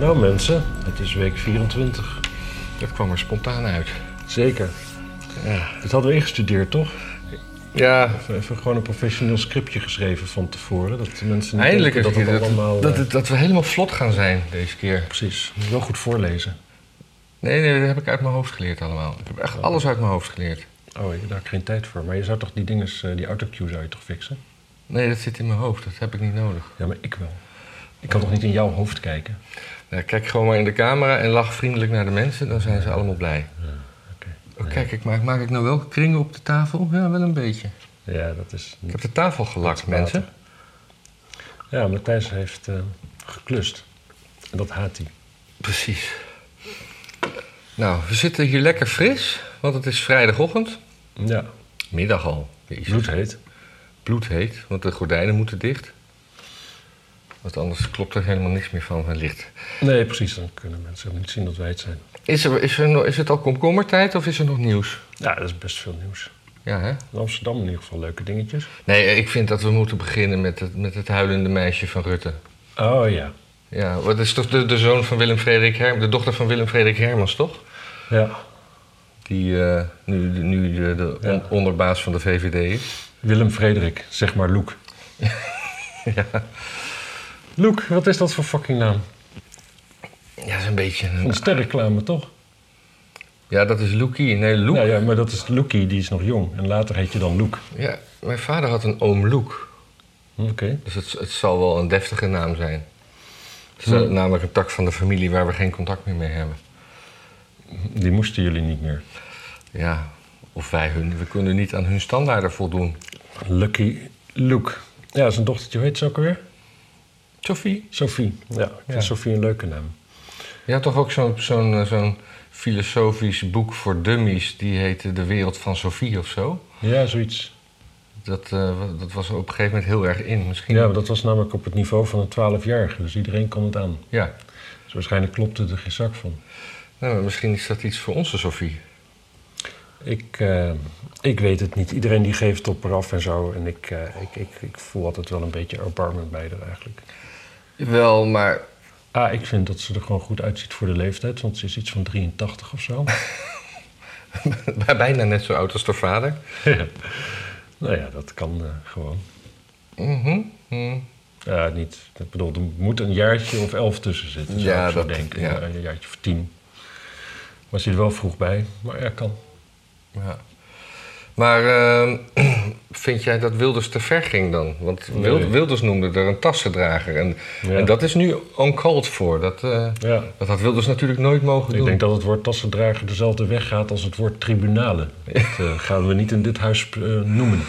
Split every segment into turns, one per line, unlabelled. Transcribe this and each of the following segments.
Nou mensen, het is week 24.
Dat kwam er spontaan uit.
Zeker.
Ja.
Dat hadden we ingestudeerd, toch?
Ja,
We hebben gewoon een professioneel scriptje geschreven van tevoren. Dat de mensen niet
eindelijk
denken
eens
dat
dat,
het allemaal...
dat, dat,
eh,
dat, we helemaal vlot gaan zijn deze keer.
Precies. Moet je wel goed voorlezen.
Nee, nee, dat heb ik uit mijn hoofd geleerd allemaal. Ik heb echt alles uit mijn hoofd geleerd.
Oh, daar heb ik geen tijd voor. Maar je zou toch die dinges, eh, die autocue zou je toch fixen?
Nee, dat zit in mijn hoofd. Dat heb ik niet nodig.
Ja, maar ik wel. Ik kan toch niet in jouw hoofd kijken?
Nou, kijk gewoon maar in de camera en lach vriendelijk naar de mensen. Dan zijn ze allemaal blij.
Oké.
Oh, kijk, ik maak, maak ik nou wel kringen op de tafel? Ja, wel een beetje.
Ja, dat is...
Ik heb de tafel gelakt,
Water.
mensen.
Ja, Matthijs heeft eh, geklust. En dat haat hij.
Precies. Nou, we zitten hier lekker fris, want het is vrijdagochtend.
Ja,
Middag al. Jezus.
bloedheet.
bloedheet, want de gordijnen moeten dicht. Want anders klopt er helemaal niks meer van van licht.
Nee, precies. Dan kunnen mensen ook niet zien dat wij het zijn.
Is, er, is, er, no- is het al komkommertijd of is er nog nieuws?
Ja, dat is best veel nieuws.
Ja, hè?
In Amsterdam in ieder geval leuke dingetjes.
Nee, ik vind dat we moeten beginnen met het, met het huilende meisje van Rutte.
Oh ja.
Ja, wat is toch de, de zoon van Willem Frederik Hermans, de dochter van Willem Frederik Hermans, toch?
Ja.
Die eh, nu, de- nu de, de on-
Ja.
onderbaas van de VVD is.
Willem Frederik, zeg maar Loek.
ja,
Loek, wat is dat voor fucking naam?
ja, dat is een beetje
Een
een...
sterreclame, toch?
Ja, dat is Loekie. Nee, Loek.
Nou ja, maar dat is Loekie, die is nog jong. En later heet je dan Loek.
Ja, mijn vader had een oom Loek.
Hm, Oké.
Dus het, het zal wel een deftige naam zijn. Het is eh, namelijk een tak van de familie waar we geen contact meer mee hebben.
Die moesten jullie niet meer.
Ja, of wij hun. We kunnen niet aan hun standaarden voldoen.
Lucky Loek. Ja, zijn dochtertje, hoe heet ze ook alweer?
Sophie?
Sophie. Ja, ik vind
Ja.
Sophie een leuke naam.
Je had toch ook zo'n zo'n eh, zo'n filosofisch boek voor dummies... die heette De Wereld van Sophie of zo?
Ja, zoiets.
Dat, eh, wa- dat was er op een gegeven moment heel erg in. Misschien...
Ja, maar dat was namelijk op het niveau van een 12-jarige, dus iedereen kon het aan.
ja.
Dus waarschijnlijk klopte er geen zak van.
Nou, maar misschien is dat iets voor onze Sophie.
Ik, eh, ik weet het niet. Iedereen die geeft op eraf en zo. En ik, eh, ik, ik, ik voel altijd wel een beetje erbarmen bij haar eigenlijk.
Wel, maar...
Ah, ik vind dat ze er gewoon goed uitziet voor de leeftijd, want ze is iets van 83 of zo.
Bijna net zo oud als de vader.
nou ja, dat kan eh, gewoon.
Mhm. mhm.
Ja, niet. Ik bedoel, er moet een jaartje of elf tussen zitten. Zou
Ja,
ik zo
dat-
denken.
ja.
Een jaartje of tien. Maar ze er wel vroeg bij. Maar ja, kan.
Ja. Maar ehm, vind jij dat Wilders te ver ging dan? Want Wild-
Nee.
Wilders noemde er een tassendrager. En,
Ja.
en dat is nu uncalled for. Dat, eh,
Ja.
dat had Wilders natuurlijk nooit mogen
Ik
doen.
denk dat het woord tassendrager dezelfde weg gaat als het woord tribunalen. Dat eh, gaan we niet in dit huis eh, noemen.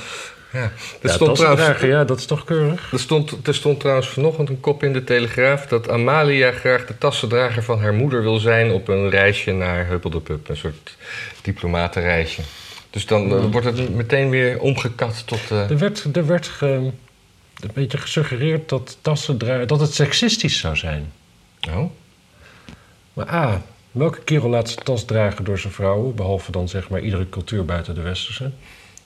ja. Er,
Ja,
stond trouwens,
tassendrager, ja, dat is toch keurig?
er, stond, er stond trouwens vanochtend een kop in de Telegraaf... dat Amalia graag de tassendrager van haar moeder wil zijn... op een reisje naar Huppeldepup. Een soort diplomatenreisje. Dus dan eh, wordt het meteen weer omgekat tot... eh,
Er werd, er werd ge- een beetje gesuggereerd dat tassendrager... dat het seksistisch zou zijn.
oh,
Maar A, welke kerel laat zijn tas dragen door zijn vrouwen? Behalve dan zeg maar iedere cultuur buiten de westerse.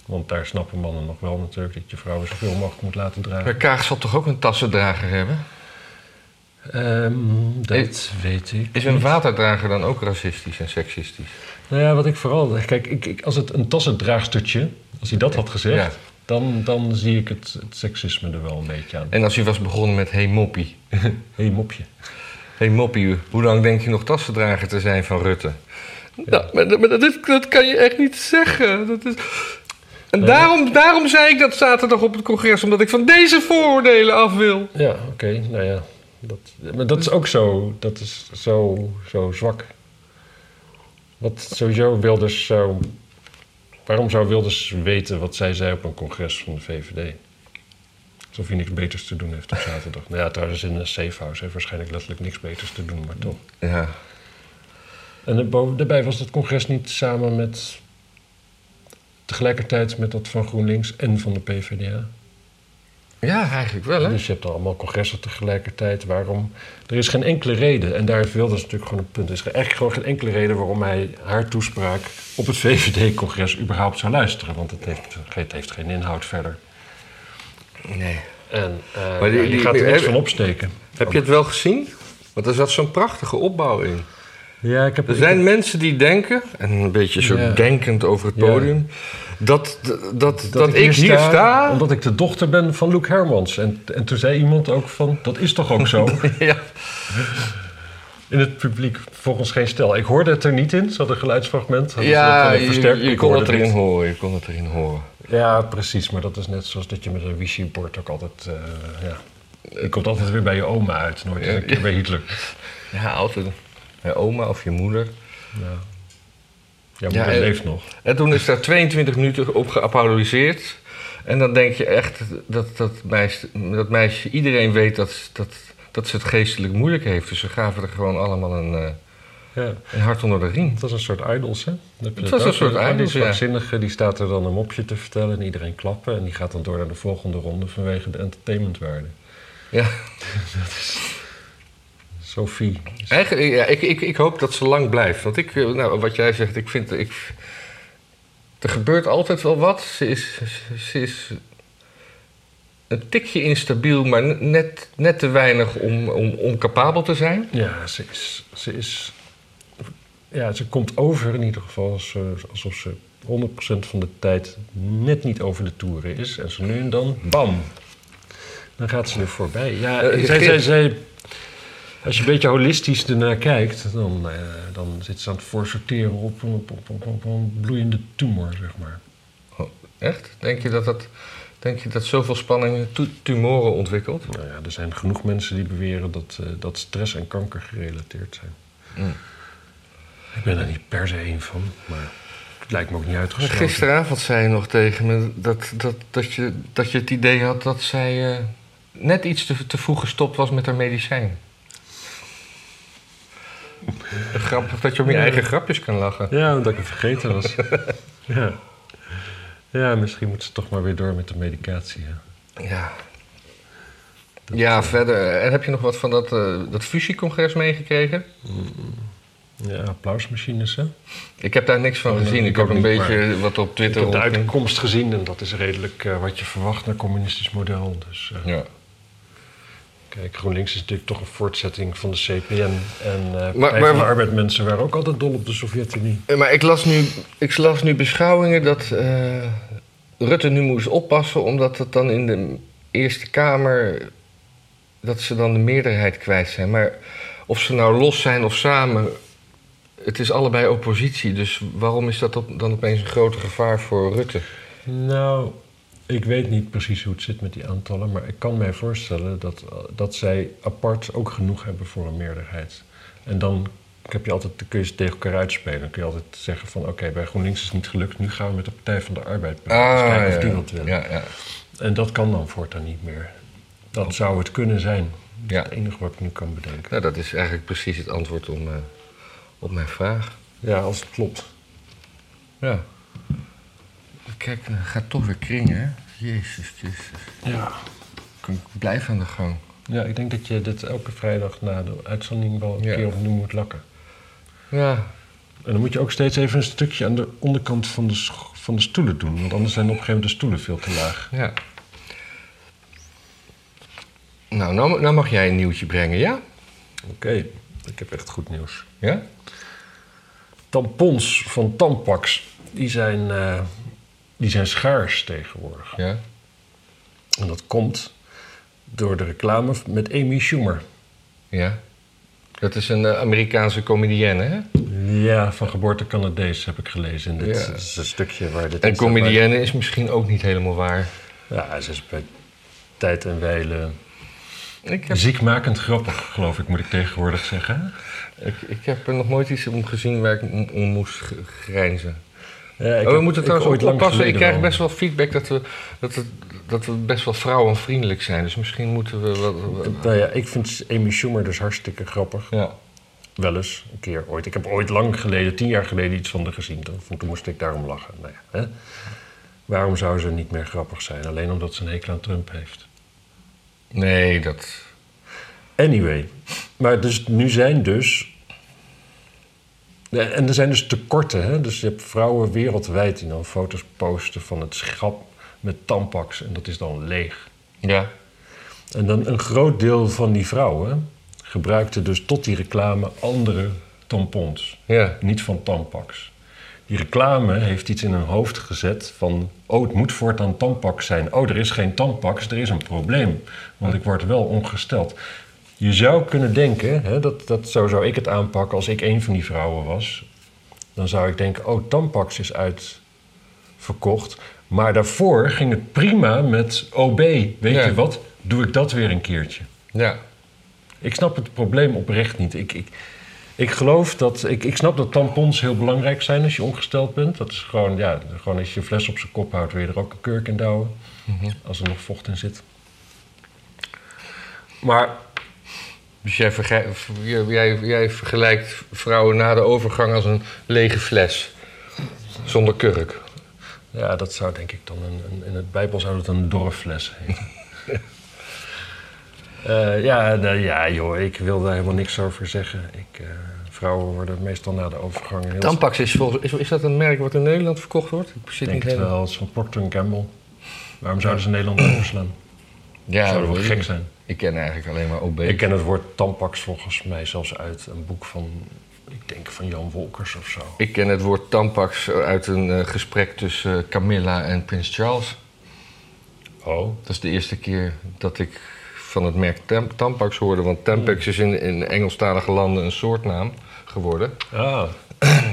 Want daar snappen mannen nog wel natuurlijk dat je vrouwen zoveel mogelijk moet laten dragen.
maar Kaag zal toch ook een tassendrager hebben?
Ehm, dat
Is-
weet ik.
Is een waterdrager dan ook racistisch en seksistisch?
Nou ja, wat ik vooral... Kijk, ik, ik, als het een tassendraagstertje, als hij dat had gezegd...
Ja.
Dan, dan zie ik het, het seksisme er wel een beetje aan.
En als u was begonnen met hey moppie.
Hé, hey, mopje.
Hey moppie, hoe lang denk je nog tassendrager te zijn van Rutte? Nou, maar, maar dat, dat kan je echt niet zeggen. Dat is... En daarom, daarom zei ik dat zaterdag op het congres, omdat ik van deze vooroordelen af wil.
Ja, oké. nou ja. Dat, maar dat is ook zo, dat is zo, zo zwak. Wat sowieso Wilders zou... Waarom zou Wilders weten wat zij zei op een congres van de VVD? Alsof hij niks beters te doen heeft op zaterdag. Nou ja, trouwens in een safehouse heeft waarschijnlijk letterlijk niks beters te doen, maar toch.
Ja,
En daarbo- daarbij was dat congres niet samen met... tegelijkertijd met dat van GroenLinks en van de PvdA.
ja eigenlijk wel, hè?
Dus je hebt dan allemaal congressen tegelijkertijd. Waarom? Er is geen enkele reden. En daar heeft Wilders natuurlijk gewoon een punt. Er is echt gewoon geen enkele reden waarom hij haar toespraak op het VVD-congres überhaupt zou luisteren. Want het heeft, het heeft geen inhoud verder.
Nee.
En eh,
Maar die-
ja, je
die-
gaat er
die-
niks
heb-
van opsteken.
Heb je het wel gezien? Want er zat zo'n prachtige opbouw in.
Ja, ik heb,
Er zijn mensen die denken, en een beetje zo
Ja.
denkend over het
Ja.
podium, dat, dat, dat, ik hier sta.
Omdat ik de dochter ben van Luc Hermans. En, en toen zei iemand ook van, dat is toch ook zo?
ja.
in het publiek volgens geen stel. Ik hoorde het er niet in, zat een geluidsfragment. hadden ze dat
Ja,
dan op
je,
versterkt?
je
Ik
kon
hoorde
het erin
niet.
horen. Je kon het erin horen.
Ja, precies. Maar dat is net zoals dat je met een wifi-bord ook altijd... eh, ja. Je komt altijd weer bij je oma uit, nooit eens een keer bij Hitler.
Ja, altijd. Je oma of je moeder.
Ja, ja
Ja,
moeder
eh,
leeft nog.
En toen is daar 22 minuten op geapologiseerd. En dan denk je echt dat dat meisje, dat meisje iedereen weet dat, dat, dat ze het geestelijk moeilijk heeft. Dus ze gaven er gewoon allemaal een, eh,
Ja.
een hart onder de riem.
Het was een soort idols, hè? Dan heb je dat
Het was een
ook.
soort
En
idols, ja.
Die zwakzinnige die staat er dan een mopje te vertellen en iedereen klappen. En die gaat dan door naar de volgende ronde vanwege de entertainmentwaarde.
Ja.
Sophie.
Eigenlijk, ja, ik, ik, ik hoop dat ze lang blijft. Want ik, eh, nou, wat jij zegt, ik vind. Ik, er gebeurt altijd wel wat. Ze is, ze- ze is een tikje instabiel, maar net, net te weinig om, om, om capabel te zijn.
Ja, ze is... Ze is ja, ze komt over in ieder geval als, eh, alsof ze 100% van de tijd net niet over de toeren is. En zo nu en dan, bam! Dan gaat ze er voorbij. Ja,
Eh,
zij,
Geert-
zij, zij, als je een beetje holistisch ernaar kijkt, dan, eh, dan zit ze aan het voorsorteren op, een- op, op, op, op een bloeiende tumor, zeg maar.
Oh, echt? Denk je dat, dat, denk je dat zoveel spanning tu- tumoren ontwikkelt?
Nou ja, er zijn genoeg mensen die beweren dat, eh, dat stress en kanker gerelateerd zijn.
Mm.
Ik ben er niet per se één van, maar het lijkt me ook niet uitgesloten.
Gisteravond zei je nog tegen me dat, dat, dat, je, dat je het idee had dat zij eh, net iets te, te vroeg gestopt was met haar medicijn. Grappig dat je om je eigen grapjes kan lachen.
Ja, omdat ik het vergeten was. ja. ja, misschien moet ze toch maar weer door met de medicatie. Ja.
Ja. Ja, verder. En heb je nog wat van dat, eh, dat fusiecongres meegekregen?
Ja, applausmachines, hè?
Ik heb daar niks van
Oh, nee,
gezien.
ik
Ik heb
ook
een
niet,
beetje wat op
Ik
Twitter
heb de
rondging.
uitkomst gezien en dat is redelijk eh, wat je verwacht naar communistisch model. Dus eh,
Ja.
kijk, GroenLinks is natuurlijk toch een voortzetting van de CPN. En eh Partij
maar-
van de Arbeid mensen waren ook altijd dol op de Sovjet-Unie.
Eh, Maar ik las nu, ik las nu beschouwingen dat eh, Rutte nu moest oppassen, omdat het dan in de Eerste Kamer. dat ze dan de meerderheid kwijt zijn. Maar of ze nou los zijn of samen. Het is allebei oppositie, dus waarom is dat op- dan opeens een groter gevaar voor Rutte?
Nou, ik weet niet precies hoe het zit met die aantallen, maar ik kan mij voorstellen dat, eh, dat zij apart ook genoeg hebben voor een meerderheid. En dan heb je altijd de keuze tegen elkaar uitspelen. Dan kun je altijd zeggen van oké, bij GroenLinks is het niet gelukt, nu gaan we met de Partij van de Arbeid praten. Dus kijken of die wat wil.
ja, ja,
En dat kan dan voortaan niet meer. Dat zou het kunnen zijn.
ja.
Het enige wat ik nu kan bedenken.
Nou, dat is eigenlijk precies het antwoord om, eh, op mijn vraag.
Ja, als het klopt.
Ja. Kijk, het gaat toch weer kringen, hè? Jezus Christus.
Ja.
Ik blijf aan de gang.
ja, ik denk dat je dit elke vrijdag na de uitzending wel een
Ja.
keer opnieuw moet lakken.
Ja.
En dan moet je ook steeds even een stukje aan de onderkant van de, scho- van de stoelen doen. Want anders zijn op een gegeven moment de stoelen veel te laag.
ja. Nou, nou, nou mag jij een nieuwtje brengen, ja?
Oké, ik heb echt goed nieuws.
Ja?
Tampons van Tampax, die zijn, eh, die zijn schaars tegenwoordig.
Ja.
En dat komt door de reclame met Amy Schumer.
Ja. Dat is een eh, Amerikaanse comedienne, hè?
Ja, van geboorte Canadees heb ik gelezen. In dit,
Ja.
dit is een stukje waar dit...
En comedienne is misschien ook niet helemaal waar.
Ja, ze is bij tijd en wijle
Ik heb,
ziekmakend grappig, geloof ik, moet ik tegenwoordig zeggen.
ik, ik heb er nog nooit iets om gezien waar ik om, om moest g- grijnzen.
Ja, ik
Oh, we
heb-
moeten
ik
trouwens
ooit
ook
lang
oppassen. Ik
geleden
krijg
wel.
best wel feedback dat we, dat, we, dat we best wel vrouwenvriendelijk zijn. Dus misschien moeten we wat... wat-
Nou ja, ik vind Amy Schumer dus hartstikke grappig.
ja.
Wel eens, een keer ooit. Ik heb ooit lang geleden, tien jaar geleden, iets van haar gezien. Toen, toen moest ik daarom lachen. Nou ja, hè? Waarom zou ze niet meer grappig zijn? Alleen omdat ze een hekel aan Trump heeft.
Nee, dat...
Anyway, maar dus, nu zijn dus... Ja, En er zijn dus tekorten. Hè? Dus je hebt vrouwen wereldwijd die dan foto's posten van het schap met tampax. En dat is dan leeg.
Ja.
En dan een groot deel van die vrouwen gebruikte dus tot die reclame andere tampons,
Ja.
niet van Tampax. Die reclame heeft iets in hun hoofd gezet van, oh het moet voortaan Tampax zijn. Oh, er is geen Tampax, er is een probleem, want ik word wel ongesteld. Je zou kunnen denken, hè, dat, dat zo zou ik het aanpakken als ik een van die vrouwen was. Dan zou ik denken, oh Tampax is uitverkocht. Maar daarvoor ging het prima met OB. Weet
Ja.
je wat, doe ik dat weer een keertje.
Ja.
Ik snap het probleem oprecht niet. Ik, ik, ik geloof dat. Ik, ik snap dat tampons heel belangrijk zijn als je ongesteld bent. Dat is gewoon, ja, gewoon als je je fles op zijn kop houdt, wil je er ook een kurk in douwen. Als er nog vocht in zit. Maar
Dus jij, vergij- jij- jij, jij vergelijkt vrouwen na de overgang als een lege fles. Zonder kurk.
ja, dat zou denk ik dan. Een, een- in het Bijbel zou dat een dorffles heten. Eh, ja, nou ja, joh, ik wil daar helemaal niks over zeggen. Ik, eh, vrouwen worden meestal na de overgang heel
Tampax is volgens is, is dat een merk wat in Nederland verkocht wordt? Ik zit
Ik denk
niet
het
helemaal.
wel, het is van Procter Gamble. Waarom zouden ze Nederland overslaan?
Ja,
Zou wel
weet
gek
ik.
zijn.
Ik ken eigenlijk alleen maar OB.
Ik ken het woord tampax volgens mij zelfs uit een boek van, ik denk van Jan Wolkers of zo.
Ik ken het woord tampax uit een eh, gesprek tussen eh, Camilla en Prins Charles.
Oh.
Dat is de eerste keer dat ik van het merk Tam- Tampax hoorde. Want
Hmm.
Tampax is in, in Engelstalige landen een soortnaam geworden.
Ah,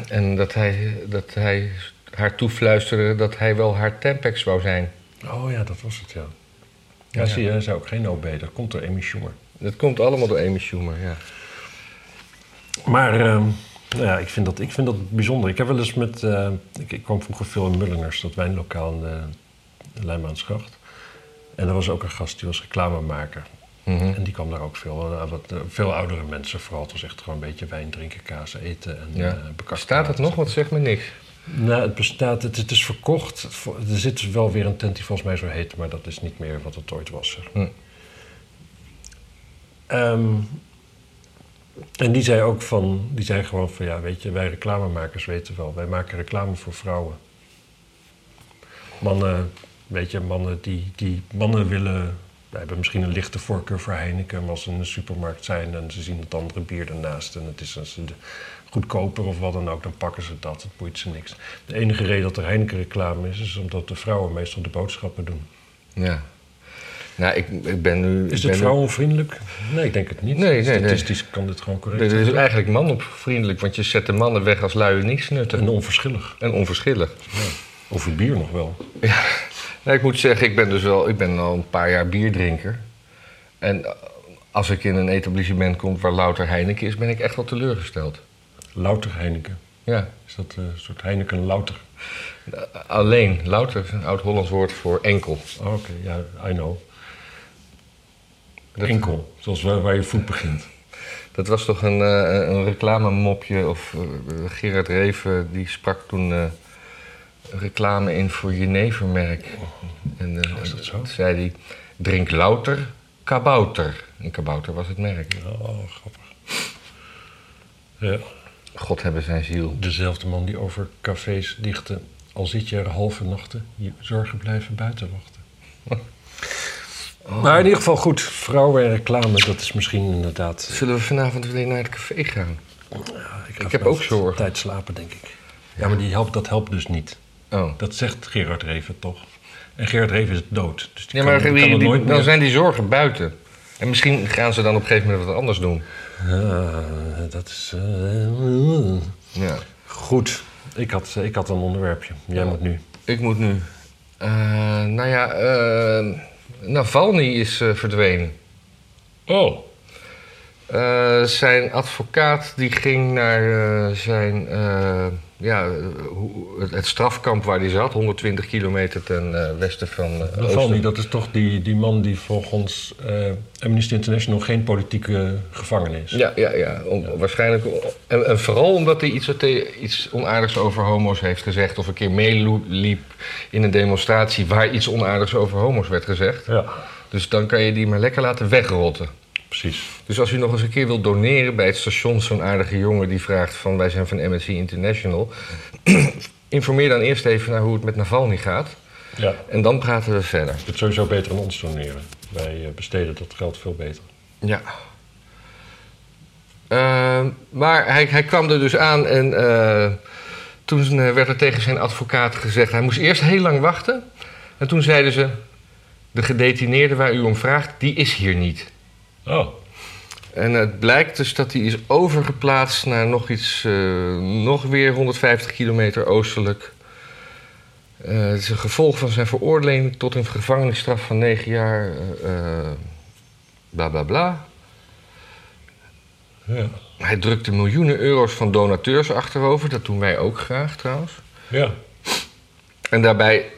En dat hij, dat hij haar toefluisterde dat hij wel haar Tampax zou zijn.
oh ja, dat was het, ja. Ja,
Ja.
zie je, hij zei ook geen OB, dat komt door Amy Schumer.
Dat komt allemaal door Amy Schumer, ja.
Maar ehm, nou ja, ik, vind dat, ik vind dat bijzonder. Ik heb wel eens met. eh, ik, ik kwam vroeger veel in Mullingers, dat wijnlokaal in de, de Leijmaansgracht. En er was ook een gast die was reclamemaker.
Mhm.
En die kwam daar ook veel. eh, wat, eh, veel oudere mensen vooral. Het was echt gewoon een beetje wijn drinken, kaas eten en
ja.
eh bekakken.
Staat het nog? Wat zegt me niks.
Nou, het bestaat. Het, het is verkocht. Het vo- Er zit dus wel weer een tent die volgens mij zo heet, maar dat is niet meer wat het ooit was. Zeg.
Hm.
Ehm, en die zei ook van, die zei gewoon van, ja, weet je, wij reclamemakers weten wel, wij maken reclame voor vrouwen. Mannen, weet je, mannen die, die mannen willen, wij hebben misschien een lichte voorkeur voor Heineken, maar als ze in de supermarkt zijn en ze zien het andere bier ernaast en het is als ze de- goedkoper of wat dan ook, dan pakken ze dat, het boeit ze niks. De enige reden dat er Heineken reclame is, is omdat de vrouwen meestal de boodschappen doen.
Ja. Nou, ik, ik ben nu... ik
Is
ben
dit
nu-
vrouwenvriendelijk? Nee, ik denk het niet.
Nee, nee, nee.
Statistisch kan dit gewoon correct
Dit
zijn.
is eigenlijk manopvriendelijk, want je zet de mannen weg als luie niksnutten.
En onverschillig.
En onverschillig.
Over bier nog wel.
Nou, ik moet zeggen, ik ben dus wel, ik ben al een paar jaar bierdrinker. En eh, als ik in een etablissement kom waar louter Heineken is, ben ik echt wel teleurgesteld.
Louter Heineken.
Ja,
Is dat eh, een soort Heineken Louter?
alleen. Louter is een oud-Hollands woord voor enkel.
Oh, Oké, ja, I know.
Dat-
Enkel, zoals waar, waar je voet begint.
Dat was toch een, eh een reclamemopje, of eh, Gerard Reven, die sprak toen eh, reclame in voor Jenevermerk. En eh,
Oh, is dat zo?
zei hij, drink louter, kabouter. En kabouter was het merk.
Oh, grappig. Ja,
God hebben zijn ziel.
dezelfde man die over cafés dichtte. Al zit je er halve nachten, je zorgen blijven buiten wachten. Maar in ieder geval goed, vrouwen en reclame, dat is misschien inderdaad...
Zullen we vanavond weer naar het café gaan?
Ik,
heb ook zorgen.
zorg. tijd slapen, denk ik. Ja, maar die helpt, dat helpt dus niet.
Oh.
Dat zegt Gerard Reven toch? En Gerard Reven is dood. Dus die
Ja,
kan,
maar
die
die-
kan er
die-
nooit
dan
meer...
zijn die zorgen buiten. En misschien gaan ze dan op een gegeven moment wat anders doen.
Ah, dat is... eh,
Ja.
goed. Ik had, eh, ik had een onderwerpje. Jij moet nu.
Ik moet nu. Eh, nou ja, eh, Navalny is eh, verdwenen.
Oh.
Eh, zijn advocaat die ging naar eh, zijn, eh, ja, eh, hoe- het, het strafkamp waar hij zat, 120 kilometer ten eh, westen van eh,
Navalny,
Oosten.
dat is toch die, die man die volgens eh, Amnesty International geen politieke gevangene is.
Ja, ja, ja. Om- Waarschijnlijk. En, en vooral omdat hij iets, wat te- iets onaardigs over homo's heeft gezegd. Of een keer meeliep in een demonstratie waar iets onaardigs over homo's werd gezegd.
Ja,
Dus dan kan je die maar lekker laten wegrotten.
precies.
Dus als u nog eens een keer wilt doneren bij het station, zo'n aardige jongen die vraagt van wij zijn van MSC International. informeer dan eerst even naar hoe het met Navalny gaat.
Ja.
En dan praten we verder.
Je kunt sowieso beter aan ons doneren. Wij eh, besteden dat geld veel beter.
Ja. Ehm, maar hij, hij kwam er dus aan en eh, toen eh, werd er tegen zijn advocaat gezegd... hij moest eerst heel lang wachten. En toen zeiden ze, de gedetineerde waar u om vraagt, die is hier niet.
Oh,
En het blijkt dus dat hij is overgeplaatst naar nog iets, eh, nog weer 150 kilometer oostelijk. Eh, het is een gevolg van zijn veroordeling tot een gevangenisstraf van 9 jaar. eh, eh, bla bla bla.
ja.
Hij drukte miljoenen euro's van donateurs achterover. Dat doen wij ook graag trouwens.
ja.
En daarbij.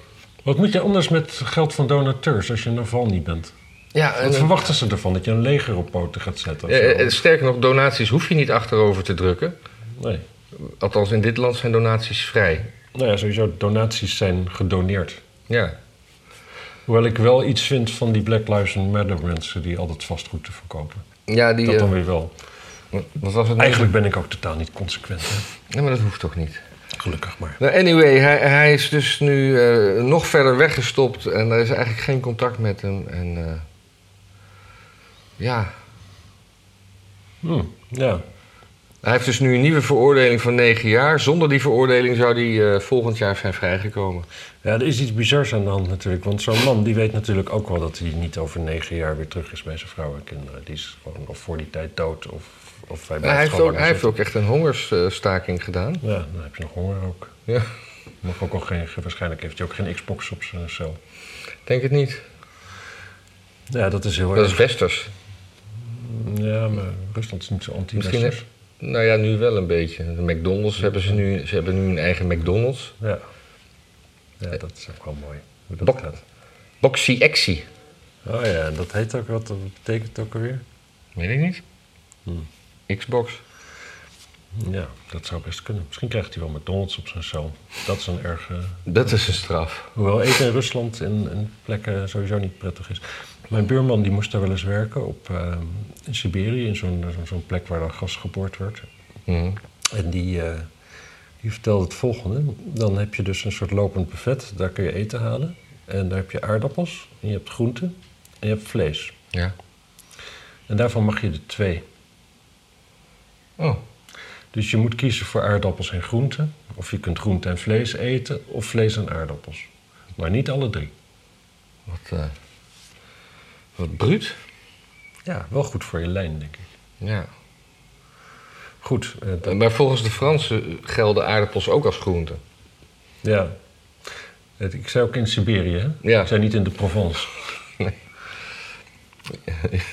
Wat moet je anders met geld van donateurs als je een Naval niet bent?
Ja, en,
Wat verwachten ze ervan? Dat je een leger op poten gaat zetten? of
eh, eh,
zo?
eh, sterker nog, donaties hoef je niet achterover te drukken.
nee.
Althans, in dit land zijn donaties vrij.
Nou ja, sowieso donaties zijn gedoneerd.
Ja.
Hoewel ik wel iets vind van die Black Lives Matter mensen die altijd vastgoed te verkopen.
Ja, die.
Dat dan
eh,
weer wel.
wat was het? nou?
Eigenlijk ben ik ook totaal niet consequent. Hè?
Nee, maar dat hoeft toch niet?
Gelukkig maar.
Nou, anyway, hij, hij is dus nu eh, nog verder weggestopt en er is eigenlijk geen contact met hem. En eh, ja,
Hm, ja.
hij heeft dus nu een nieuwe veroordeling van negen jaar. Zonder die veroordeling zou hij eh, volgend jaar zijn vrijgekomen.
ja, er is iets bizars aan de hand natuurlijk. Want zo'n man die weet natuurlijk ook wel dat hij niet over negen jaar weer terug is bij zijn vrouw en kinderen. Die is gewoon of voor die tijd dood of, of hij
Nou,
blijft
hij heeft,
gewoon
ook, hij heeft
langer
ook echt een hongersstaking gedaan.
zitten. Ja, dan heb je nog honger ook.
Ja,
Mag ook al geen, waarschijnlijk heeft hij ook geen Xbox op zijn cel.
denk het niet.
Ja, dat is heel
Dat is
erg.
westers.
Ja, maar Rusland is niet zo anti
Misschien heb, nou ja, nu wel een beetje. De McDonald's hebben ze nu, ze hebben nu een eigen McDonald's.
Ja. Eh, ja, dat is ook wel mooi hoe dat
Bok-
gaat.
Boxy Exy.
Oh ja, en dat heet ook wat, dat betekent ook alweer?
Weet ik niet. Hmm. Xbox.
Ja, dat zou best kunnen. Misschien krijgt hij wel McDonald's op zijn cel. Dat is een erg... eh,
Dat is een straf.
hoewel eten in Rusland en, en plekken sowieso niet prettig is. Mijn buurman die moest daar wel eens werken op, eh, in Siberië, in zo'n eh, zo'n- zo'n plek waar dan gas geboord wordt.
Mhm.
En die, eh, die vertelde het volgende. Dan heb je dus een soort lopend buffet. Daar kun je eten halen. En daar heb je aardappels. En je hebt groenten. En je hebt vlees.
Ja.
En daarvan mag je er twee.
Oh.
Dus je moet kiezen voor aardappels en groenten. Of je kunt groenten en vlees eten. Of vlees en aardappels. Maar niet alle drie.
Wat, eh wat bruut.
Ja, wel goed voor je lijn, denk ik.
Ja.
Goed. eh, dat-
Maar volgens de Fransen gelden aardappels ook als groente.
ja. Het- Ik zei ook in Siberië, hè?
Ja.
Ik zei niet in de Provence.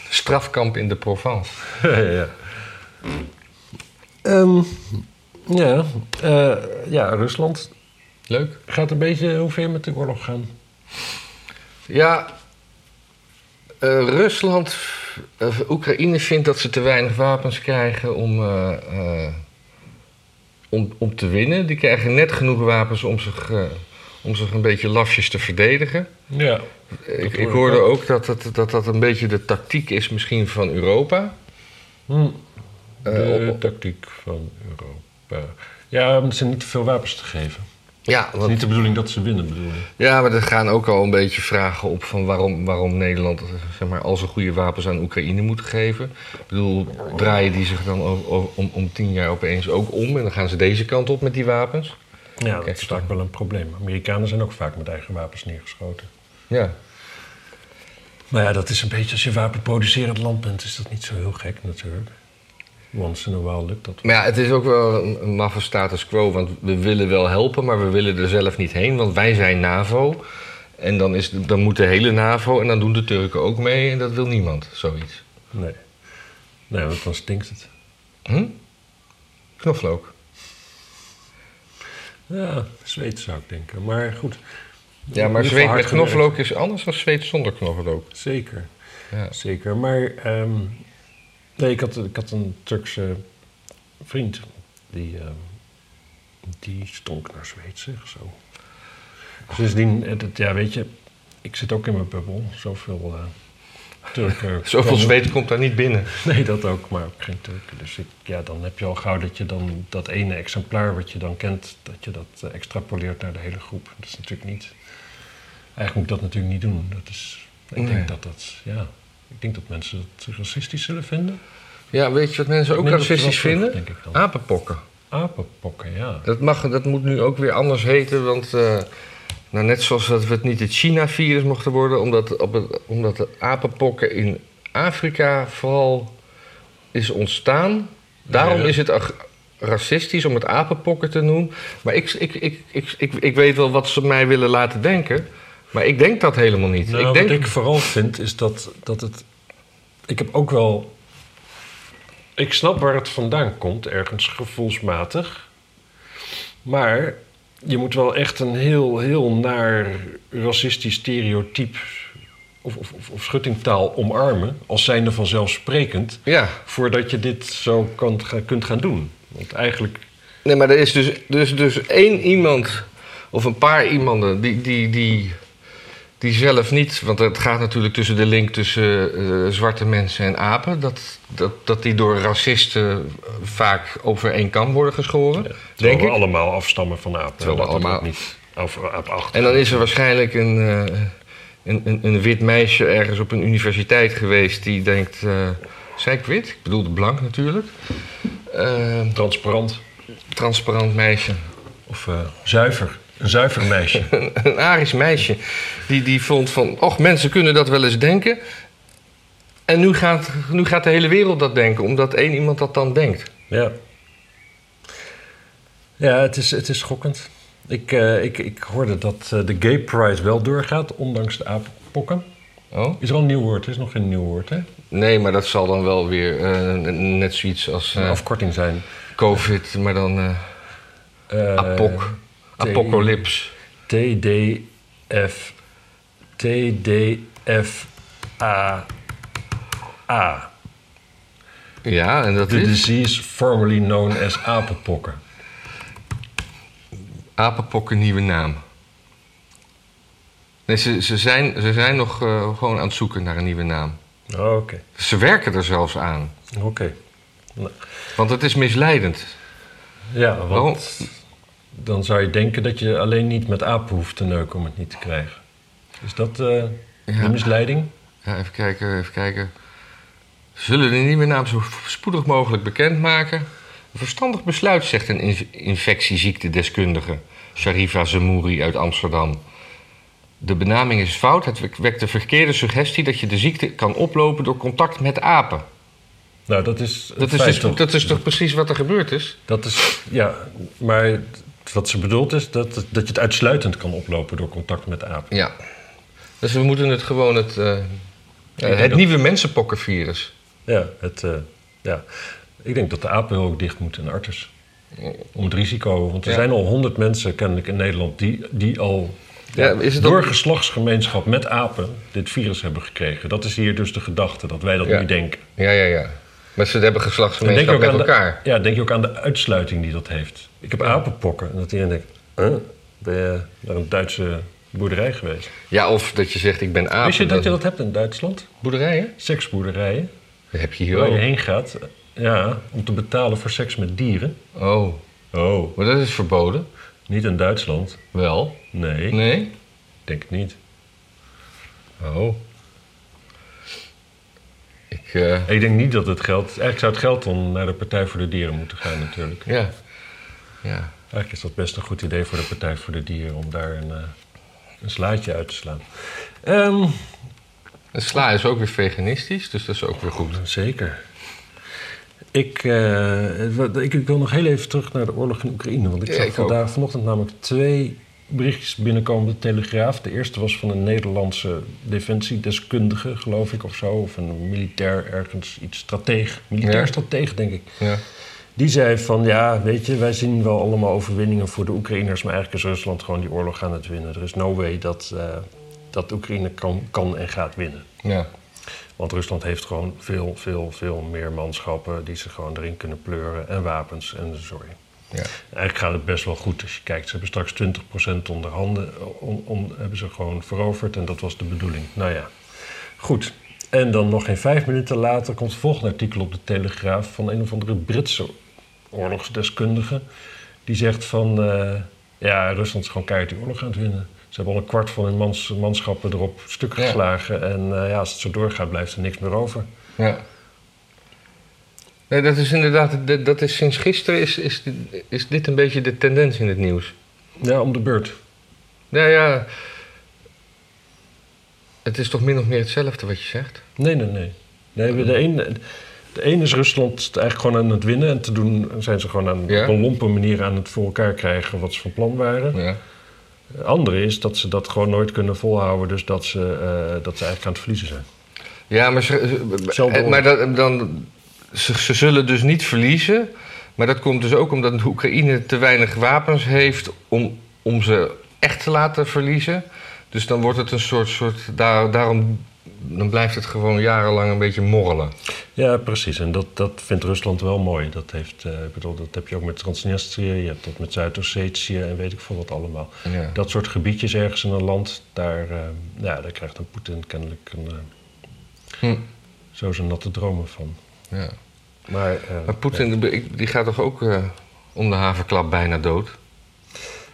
Strafkamp in de Provence.
ja. ja. Ehm, ja, eh, ja, Rusland
Leuk.
gaat een beetje hoe ver met de oorlog gaan.
Ja. eh, Rusland, eh, Oekraïne vindt dat ze te weinig wapens krijgen om, eh, eh, om, om te winnen. Die krijgen net genoeg wapens om zich, eh, om zich een beetje lafjes te verdedigen.
Ja.
Ik,
hoor
ik
ik
hoorde
ook.
ook dat dat, dat dat een beetje de tactiek is misschien van Europa.
de
Eh, op-
Hmm. tactiek van Europa. Ja, om ze niet te veel wapens te geven.
Ja,
Het is
want
niet de bedoeling dat ze winnen, bedoel ik.
Ja, maar er gaan ook al een beetje vragen op van waarom, waarom Nederland zeg maar, al zijn goede wapens aan Oekraïne moet geven. Ik bedoel, draaien die zich dan o- o- om, om tien jaar opeens ook om en dan gaan ze deze kant op met die wapens?
Ja, dat
Kijk,
is vaak wel een probleem. Amerikanen zijn ook vaak met eigen wapens neergeschoten.
Ja.
Maar ja, dat is een beetje als je wapenproducerend land bent, is dat niet zo heel gek natuurlijk. Once in a while lukt dat.
Maar ja, het is ook wel een, een maffe status quo, want we willen wel helpen, maar we willen er zelf niet heen, want wij zijn NAVO. En dan, is, de- dan moet de hele NAVO en dan doen de Turken ook mee en dat wil niemand, zoiets.
Nee. Nee, want Nou dan stinkt het.
Hm? Knoflook.
Ja, zweet zou ik denken. Maar goed.
Ja,
In ieder geval
maar zweet
hard
met
gewerkt.
knoflook is anders dan zweet zonder knoflook.
Zeker,
Ja.
zeker. Maar ehm, nee, ik had, ik had een Turkse vriend. Die, ehm, die stonk naar Zweeds, zeg zo. Sindsdien, het, het- ja, weet je, ik zit ook in mijn bubbel. Zoveel eh, Turken.
Zoveel
komen-
zweet komt daar niet binnen.
Nee, dat ook, maar ook geen Turken. Dus ik, ja, dan heb je al gauw dat je dan dat ene exemplaar wat je dan kent, dat je dat eh, extrapoleert naar de hele groep. Dat is natuurlijk niet. Eigenlijk moet ik dat natuurlijk niet doen. Dat is, ik
Nee.
denk dat dat, ja, ik denk dat mensen dat racistisch zullen vinden.
Ja, weet je wat mensen ook
Minder op de
racistisch
washoef,
vinden? Ah.
denk ik dan.
Apenpokken.
Apenpokken, ja.
Dat, mag, dat moet nu ook weer anders heten, want eh, nou, net zoals dat we het niet het China-virus mochten worden, omdat, op het, omdat de apenpokken in Afrika vooral is ontstaan. Daarom
Ja.
is het ag- racistisch om het apenpokken te noemen. Maar ik, ik, ik, ik, ik, ik weet wel wat ze mij willen laten denken, maar ik denk dat helemaal niet.
Nou,
ik denk,
Wat ik vooral vind is dat, dat het. Ik heb ook wel. Ik snap waar het vandaan komt, ergens gevoelsmatig. Maar je moet wel echt een heel, heel naar racistisch stereotype of, of, of, of schuttingtaal omarmen, als zijnde vanzelfsprekend,
Ja,
voordat je dit zo kan, ga- kunt gaan doen. Want eigenlijk.
nee, maar er is dus, dus, dus één iemand, of een paar iemanden, die, die, die, die zelf niet... Want het gaat natuurlijk tussen de link tussen eh, zwarte mensen en apen... Dat, dat, dat die door racisten vaak over één kam worden geschoren,
terwijl
denk
we
ik.
allemaal afstammen van apen.
Terwijl we
Laten dat
allemaal-
niet over aap achter.
En dan is er waarschijnlijk een, eh, een, een, een wit meisje ergens op een universiteit geweest... die denkt, eh zei ik wit? Ik bedoelde blank natuurlijk. Eh,
transparant.
transparant meisje.
Of eh, zuiver. Een zuiver meisje.
een Arisch meisje. Die, die vond van, och, mensen kunnen dat wel eens denken. En nu gaat, nu gaat de hele wereld dat denken, omdat één iemand dat dan denkt.
ja. Ja, het is, het is schokkend. Ik, eh, ik, ik hoorde dat eh, de Gay Pride wel doorgaat, ondanks de apenpokken.
Oh?
Is er al een nieuw woord? Er is nog geen nieuw woord, hè?
Nee, maar dat zal dan wel weer eh, net zoiets als
Een
eh,
afkorting zijn.
COVID, maar dan eh,
Eh,
apok. Apocalyps.
TDF. TDFAA.
Ja, en dat
The
is
disease formerly known as apenpokken.
apenpokken nieuwe naam. Nee, ze, ze, zijn, ze zijn nog eh, gewoon aan het zoeken naar een nieuwe naam.
Oh, Oké.
Ze werken er zelfs aan,
Oké.
want het is misleidend.
Ja, want
Waarom?
dan zou je denken dat je alleen niet met apen hoeft te neuken om het niet te krijgen. Is dat eh
Ja.
de misleiding?
Ja, even kijken, even kijken. Zullen de nieuwe naam zo spoedig mogelijk bekendmaken? Een verstandig besluit, zegt een in- infectieziektedeskundige, Sharifa Zemouri uit Amsterdam. De benaming is fout. Het wekt de verkeerde suggestie dat je de ziekte kan oplopen door contact met apen.
Nou, dat is het
Dat is,
feit
dus,
toch?
dat is toch precies wat er gebeurd is?
Dat is, ja, maar wat ze bedoelt is dat, dat je het uitsluitend kan oplopen door contact met apen.
Ja. Dus we moeten het gewoon het, eh,
denk
het
dat-
nieuwe mensenpokkenvirus.
Ja, het, eh, ja. ik denk dat de apen heel dicht moeten en arters. Om het risico, want er
Ja.
zijn al honderd mensen kennelijk in Nederland die, die al
Ja, is het dan-
door geslachtsgemeenschap met apen dit virus hebben gekregen. Dat is hier dus de gedachte, dat wij dat
Ja.
nu denken.
Ja, ja, ja. Maar ze hebben
En
geslachtsgemeenschap met
aan
elkaar.
De, ja, denk je ook aan de uitsluiting die dat heeft. Ik heb apenpokken en dat iedereen denkt, huh? ben je naar een Duitse boerderij geweest?
Ja, of dat je zegt ik ben aap.
Wist je
en
dat je dat hebt in Duitsland?
Boerderijen?
Seksboerderijen,
Dat heb je hier
waar je
ook.
heen gaat ja, om te betalen voor seks met dieren.
Oh,
Oh,
maar dat is verboden.
niet in Duitsland.
Wel?
Nee,
Nee?
ik denk het niet.
Oh. Ik, eh,
Ik denk niet dat het geld... Eigenlijk zou het geld dan naar de Partij voor de Dieren moeten gaan natuurlijk.
ja. Ja.
Eigenlijk is dat best een goed idee voor de Partij voor de Dieren... om daar een, eh, een slaatje uit te slaan. Ehm,
En sla is ook weer veganistisch, dus dat is ook weer goed.
Zeker. Ik, eh, wat- ik, ik wil nog heel even terug naar de oorlog in Oekraïne. Want ik
Ja,
zag
ik
vandaag vanochtend namelijk twee berichtjes binnenkomen op de Telegraaf. De eerste was van een Nederlandse defensiedeskundige, geloof ik, of zo. Of een militair ergens, iets strateeg. Militair
Ja.
strateeg, denk ik.
Ja.
Die zei van, ja, weet je, wij zien wel allemaal overwinningen voor de Oekraïners... maar eigenlijk is Rusland gewoon die oorlog aan het winnen. Er is no way dat, eh, dat Oekraïne kan, kan en gaat winnen.
Ja.
Want Rusland heeft gewoon veel, veel, veel meer manschappen die ze gewoon erin kunnen pleuren. En wapens en sorry.
Ja.
Eigenlijk gaat het best wel goed als je kijkt. Ze hebben straks 20% onder handen on, on- hebben ze gewoon veroverd. En dat was de bedoeling. Nou ja, goed. En dan nog geen vijf minuten later komt het volgende artikel op de Telegraaf van een of andere Britse oorlogsdeskundige. Die zegt van, eh, ja, Rusland is gewoon keihard die oorlog aan het winnen. Ze hebben al een kwart van hun mans, manschappen erop stuk
Ja.
geslagen. En eh, ja, als het zo doorgaat, blijft er niks meer over.
ja. Nee, dat is inderdaad, dat- dat is sinds gisteren is, is, dit- is dit een beetje de tendens in het nieuws.
Ja, om de beurt.
Nou ja, het is toch min of meer hetzelfde wat je zegt?
Nee, nee, nee. nee de, een, de een is Rusland eigenlijk gewoon aan het winnen. En te doen zijn ze gewoon aan,
Ja.
op een lompe manier aan het voor elkaar krijgen wat ze van plan waren.
Ja.
De andere is dat ze dat gewoon nooit kunnen volhouden. Dus dat ze, eh, dat ze eigenlijk aan het verliezen zijn.
Ja, maar, ze,
Hetzelfde
eh, maar dat, dan, ze, ze zullen dus niet verliezen. Maar dat komt dus ook omdat de Oekraïne te weinig wapens heeft om, om ze echt te laten verliezen. Dus dan wordt het een soort. soort daar, daarom dan blijft het gewoon jarenlang een beetje morrelen.
Ja, precies. En dat, dat vindt Rusland wel mooi. Dat, heeft, eh, ik bedoel, dat heb je ook met Transnistrië, je hebt dat met Zuid-Ossetië en weet ik veel wat allemaal.
Ja.
Dat soort gebiedjes ergens in een land, daar, eh, ja, daar krijgt dan Poetin kennelijk een, eh,
Hm.
zo zijn natte dromen van.
Ja.
Maar, eh,
Maar Poetin, die- die gaat toch ook eh, om de haverklap bijna dood?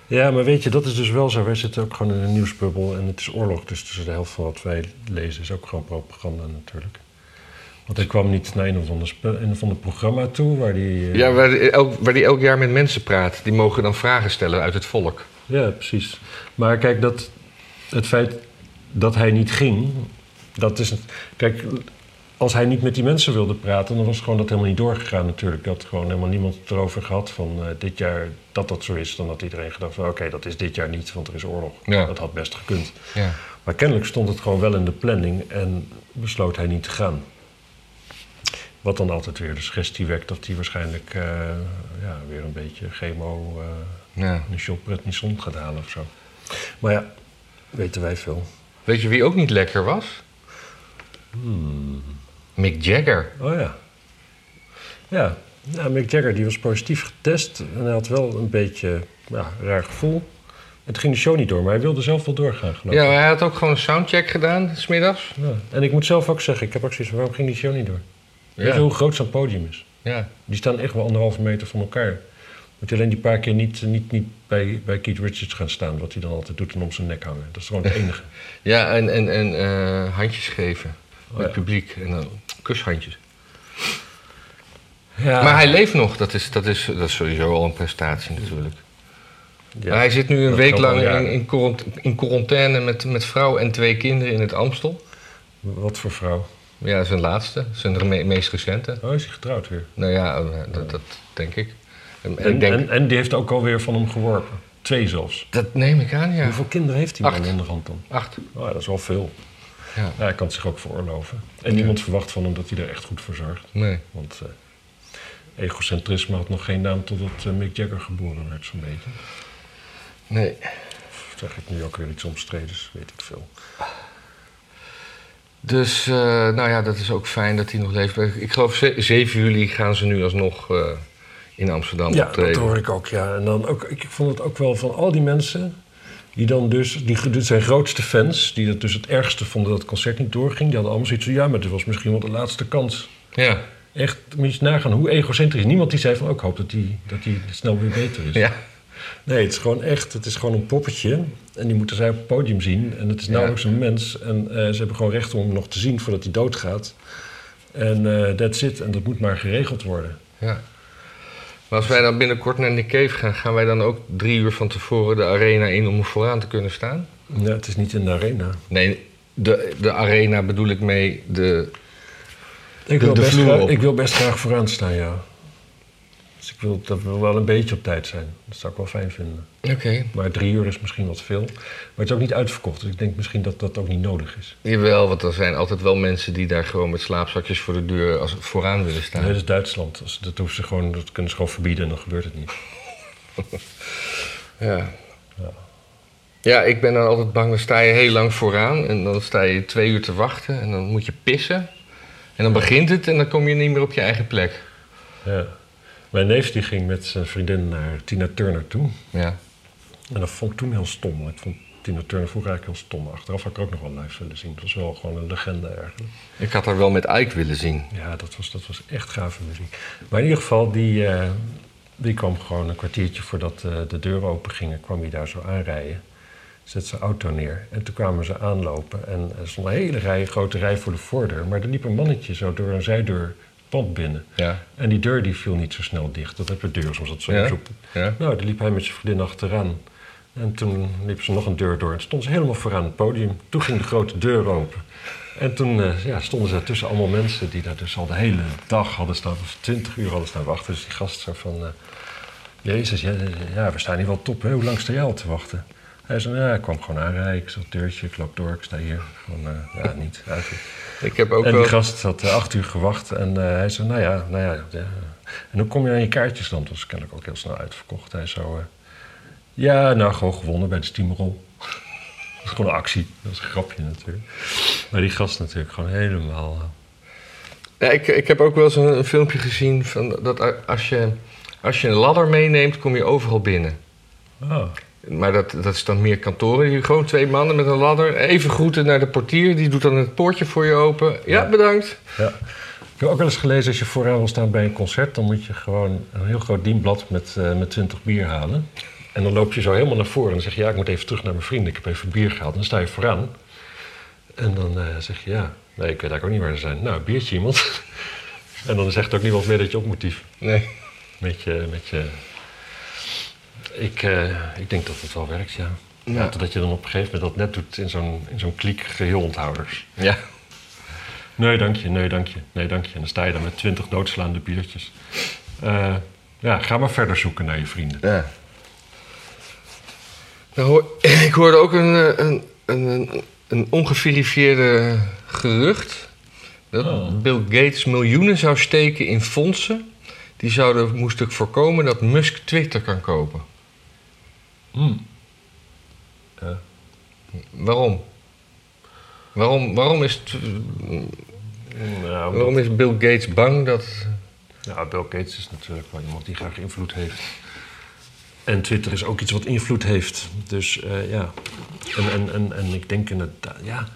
Ja, maar weet je, dat is dus wel zo. Wij zitten ook gewoon in een nieuwsbubbel en het is oorlog. Dus tussen de helft van wat wij lezen is ook gewoon propaganda natuurlijk. Want hij kwam niet naar een of ander, spe- een of ander programma toe waar die... eh,
Ja, waar die, elk, waar die elk jaar met mensen praat. Die mogen dan vragen stellen uit het volk.
Ja, precies. Maar kijk, dat, het feit dat hij niet ging, dat is. Kijk, als hij niet met die mensen wilde praten, dan was gewoon dat helemaal niet doorgegaan natuurlijk. Dat gewoon helemaal niemand het erover gehad van eh, dit jaar dat dat zo is. Dan had iedereen gedacht van oké, dat is dit jaar niet, want er is oorlog.
Ja.
Dat had best gekund.
Ja.
Maar kennelijk stond het gewoon wel in de planning en besloot hij niet te gaan. Wat dan altijd weer de suggestie wekt dat hij waarschijnlijk eh, ja, weer een beetje chemo... eh,
ja.
een shopret niet zon gaat halen of zo. Maar ja, weten wij veel.
Weet je wie ook niet lekker was?
Hmm.
Mick Jagger.
Oh ja. Ja, nou, Mick Jagger die was positief getest en hij had wel een beetje ja, een raar gevoel. Het ging de show niet door, maar hij wilde zelf wel doorgaan geloof ik.
Ja, maar hij had ook gewoon een soundcheck gedaan, smiddags.
Ja. En ik moet zelf ook zeggen, ik heb ook zoiets van, waarom ging die show niet door? Weet je
Ja.
hoe groot zo'n podium is?
ja.
Die staan echt wel anderhalve meter van elkaar. Moet je alleen die paar keer niet, niet, niet bij, bij Keith Richards gaan staan, wat hij dan altijd doet en om zijn nek hangen. Dat is gewoon het enige.
Ja, en, en, en eh, handjes geven.
Oh,
het
ja.
publiek. En dan kushandjes.
Ja,
Maar hij leeft nog. Dat is, dat, is, dat is sowieso al een prestatie natuurlijk. Maar hij zit nu een
dat
week
geldt al
lang in,
jaren.
in, quarant- in quarantaine met, met vrouw en twee kinderen in het Amstel.
Wat voor vrouw?
Ja, zijn laatste. Zijn me- meest recente.
Oh, is hij getrouwd weer?
Nou ja, eh, dat, dat denk ik. En,
En,
ik denk,
en, en die heeft ook alweer van hem geworpen. Twee zelfs.
dat neem ik aan, ja.
Hoeveel kinderen heeft hij
Acht.
man onderhand dan?
Acht.
Oh, ja, dat is wel veel.
Ja.
Ja, hij kan het zich ook veroorloven. En
Ja.
niemand verwacht van hem dat hij er echt goed voor zorgt.
Nee.
Want eh, egocentrisme had nog geen naam totdat eh, Mick Jagger geboren werd, zo'n beetje.
Nee.
Of zeg ik nu ook weer iets omstredens, weet ik veel.
Dus, eh, nou ja, dat is ook fijn dat hij nog leeft. Ik geloof ze- 7 juli gaan ze nu alsnog eh, in Amsterdam
Ja, dat
optreden.
hoor ik ook, ja. En dan ook, ik vond het ook wel van al die mensen... Die dan dus, die, dit zijn grootste fans, die dat dus het ergste vonden dat het concert niet doorging. Die hadden allemaal zoiets van, ja, maar dit was misschien wel de laatste kans.
Ja,
Echt, moet je eens nagaan hoe egocentrisch. Niemand die zei van, oh, ik hoop dat die, dat die snel weer beter is.
ja.
Nee, het is gewoon echt, het is gewoon een poppetje. En die moeten zij op het podium zien. En het is
Ja.
nauwelijks een mens. En eh, ze hebben gewoon recht om hem nog te zien voordat hij doodgaat. En eh that's it. En dat moet maar geregeld worden.
ja. Maar als wij dan binnenkort naar Nick Cave gaan, gaan wij dan ook drie uur van tevoren de arena in om vooraan te kunnen staan?
Ja, het is niet in de arena.
Nee, de, de arena bedoel ik mee de...
Ik
De-
wil,
de
best
vloer
graag,
op.
ik wil best graag vooraan staan, ja. Dus ik wil, dat wil wel een beetje op tijd zijn. Dat zou ik wel fijn vinden.
Oké.
Maar drie uur is misschien wat veel. Maar het is ook niet uitverkocht. Dus ik denk misschien dat dat ook niet nodig is.
Jawel, want er zijn altijd wel mensen die daar gewoon met slaapzakjes voor de deur als, vooraan willen staan.
Nee, dat is Duitsland. Als- Dat, hoeven ze gewoon, dat kunnen ze gewoon verbieden en dan gebeurt het niet.
Ja. Ja, ik ben dan altijd bang. Dan sta je heel lang vooraan en dan sta je twee uur te wachten en dan moet je pissen. En dan begint het en dan kom je niet meer op je eigen plek.
Ja. Mijn neef die ging met zijn vriendin naar Tina Turner toe.
Ja.
En dat vond ik toen heel stom. want Ik vond Tina Turner vroeger eigenlijk heel stom. Achteraf had ik ook nog wel live willen zien. Het was wel gewoon een legende eigenlijk.
Ik had haar wel met Ike willen zien.
Ja, dat was, dat was echt gave muziek. Maar in ieder geval, die, eh, die kwam gewoon een kwartiertje voordat eh, de deuren open gingen, kwam hij daar zo aanrijden. Zet zijn auto neer. En toen kwamen ze aanlopen. En er stond een hele rij, grote rij voor de voordeur. Maar er liep een mannetje zo door een zijdeur het pand binnen.
Ja.
En die deur die viel niet zo snel dicht. Dat heb je deur soms dat zo
Ja?
zo-
Ja.
Nou, daar liep hij met zijn vriendin achteraan. En toen liep ze nog een deur door en stond ze helemaal vooraan het podium. Toen ging de grote deur open. En toen eh, ja, stonden ze tussen allemaal mensen die daar dus al de hele dag hadden staan, of twintig uur hadden staan wachten. Dus die gast zo van, eh, jezus, ja, ja, we staan hier wel top, hè? hoe lang sta jij al te wachten? Hij zei, ja, ik kwam gewoon aanrijden, ik zag het deurtje, ik loop door, ik sta hier. Gewoon, eh, ja, niet, uit.
Ik heb ook
En
wel...
die gast had eh, acht uur gewacht en eh, hij zei, nou ja, nou ja. ja. En hoe kom je aan je kaartjes dan? Dat was kennelijk ook heel snel uitverkocht. Hij zo, eh, ja, nou gewoon gewonnen bij de steamroll. dat is gewoon een actie. Dat is een grapje natuurlijk. Maar die gast natuurlijk gewoon helemaal... eh,
Ja, ik, ik heb ook wel eens een, een filmpje gezien van dat a- als je, als je een ladder meeneemt, kom je overal binnen.
ah,
Maar dat, dat is dan meer kantoren. Die gewoon twee mannen met een ladder. Even groeten naar de portier. Die doet dan het poortje voor je open. Ja,
Ja.
bedankt.
ja. Ik heb ook wel eens gelezen, als je vooraan wil staan bij een concert... dan moet je gewoon een heel groot dienblad met, eh met 20 bier halen. En dan loop je zo helemaal naar voren en dan zeg je... ja, ik moet even terug naar mijn vrienden, ik heb even bier gehaald. En dan sta je vooraan. En dan eh, zeg je, ja, nee, ik weet eigenlijk ook niet waar ze zijn. Nou, biertje iemand. en dan zegt ook niemand meer dat je op moet dieven.
Nee.
Met je, met je... Ik, eh, ik denk dat het wel werkt, ja.
Ja.
ja. Dat je dan op een gegeven moment dat net doet in zo'n, in zo'n kliek geheel onthouders.
Ja.
Nee, dank je, nee, dank je, nee, dank je. En dan sta je daar met twintig doodslaande biertjes. Eh, ja, ga maar verder zoeken naar je vrienden.
ja. Nou, hoor- ik hoorde ook een, eh, een, een, een, een ongeverifieerde gerucht. Dat
Oh.
Bill Gates miljoenen zou steken in fondsen. Die zouden moesten voorkomen dat Musk Twitter kan kopen. Waarom? Waarom, waarom, is, het-
Nou, omdat-
eh, waarom is Bill Gates bang dat.
nou, Bill Gates is natuurlijk wel iemand die graag invloed heeft. En Twitter is ook iets wat invloed heeft. Dus eh, ja, en, en, en, en ik denk inderdaad, ja...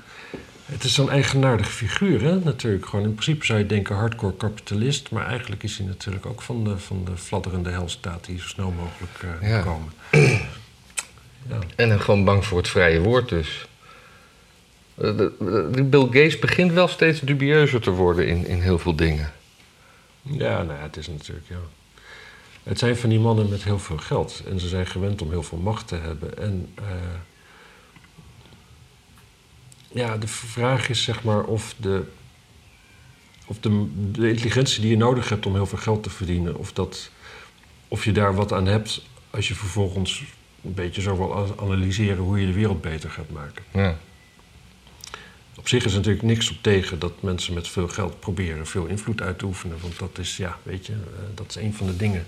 Het is zo'n eigenaardig figuur, hè, natuurlijk. Gewoon in principe zou je denken hardcore kapitalist... maar eigenlijk is hij natuurlijk ook van de, van de fladderende helstaat... die zo snel mogelijk eh, moet
Ja.
komen.
En hem gewoon bang voor het vrije woord dus. Eh, de- de- die Bill Gates begint wel steeds dubieuzer te worden in, in heel veel dingen.
Ja, nou ja, het is natuurlijk, ja. Het zijn van die mannen met heel veel geld. En ze zijn gewend om heel veel macht te hebben. En eh, ja, de vraag is zeg maar of de, of de, de intelligentie die je nodig hebt om heel veel geld te verdienen... of, dat, of je daar wat aan hebt als je vervolgens een beetje zo wil a- analyseren... hoe je de wereld beter gaat maken.
Ja.
Op zich is er natuurlijk niks op tegen dat mensen met veel geld proberen veel invloed uit te oefenen. Want dat is, ja, weet je, eh, dat is een van de dingen.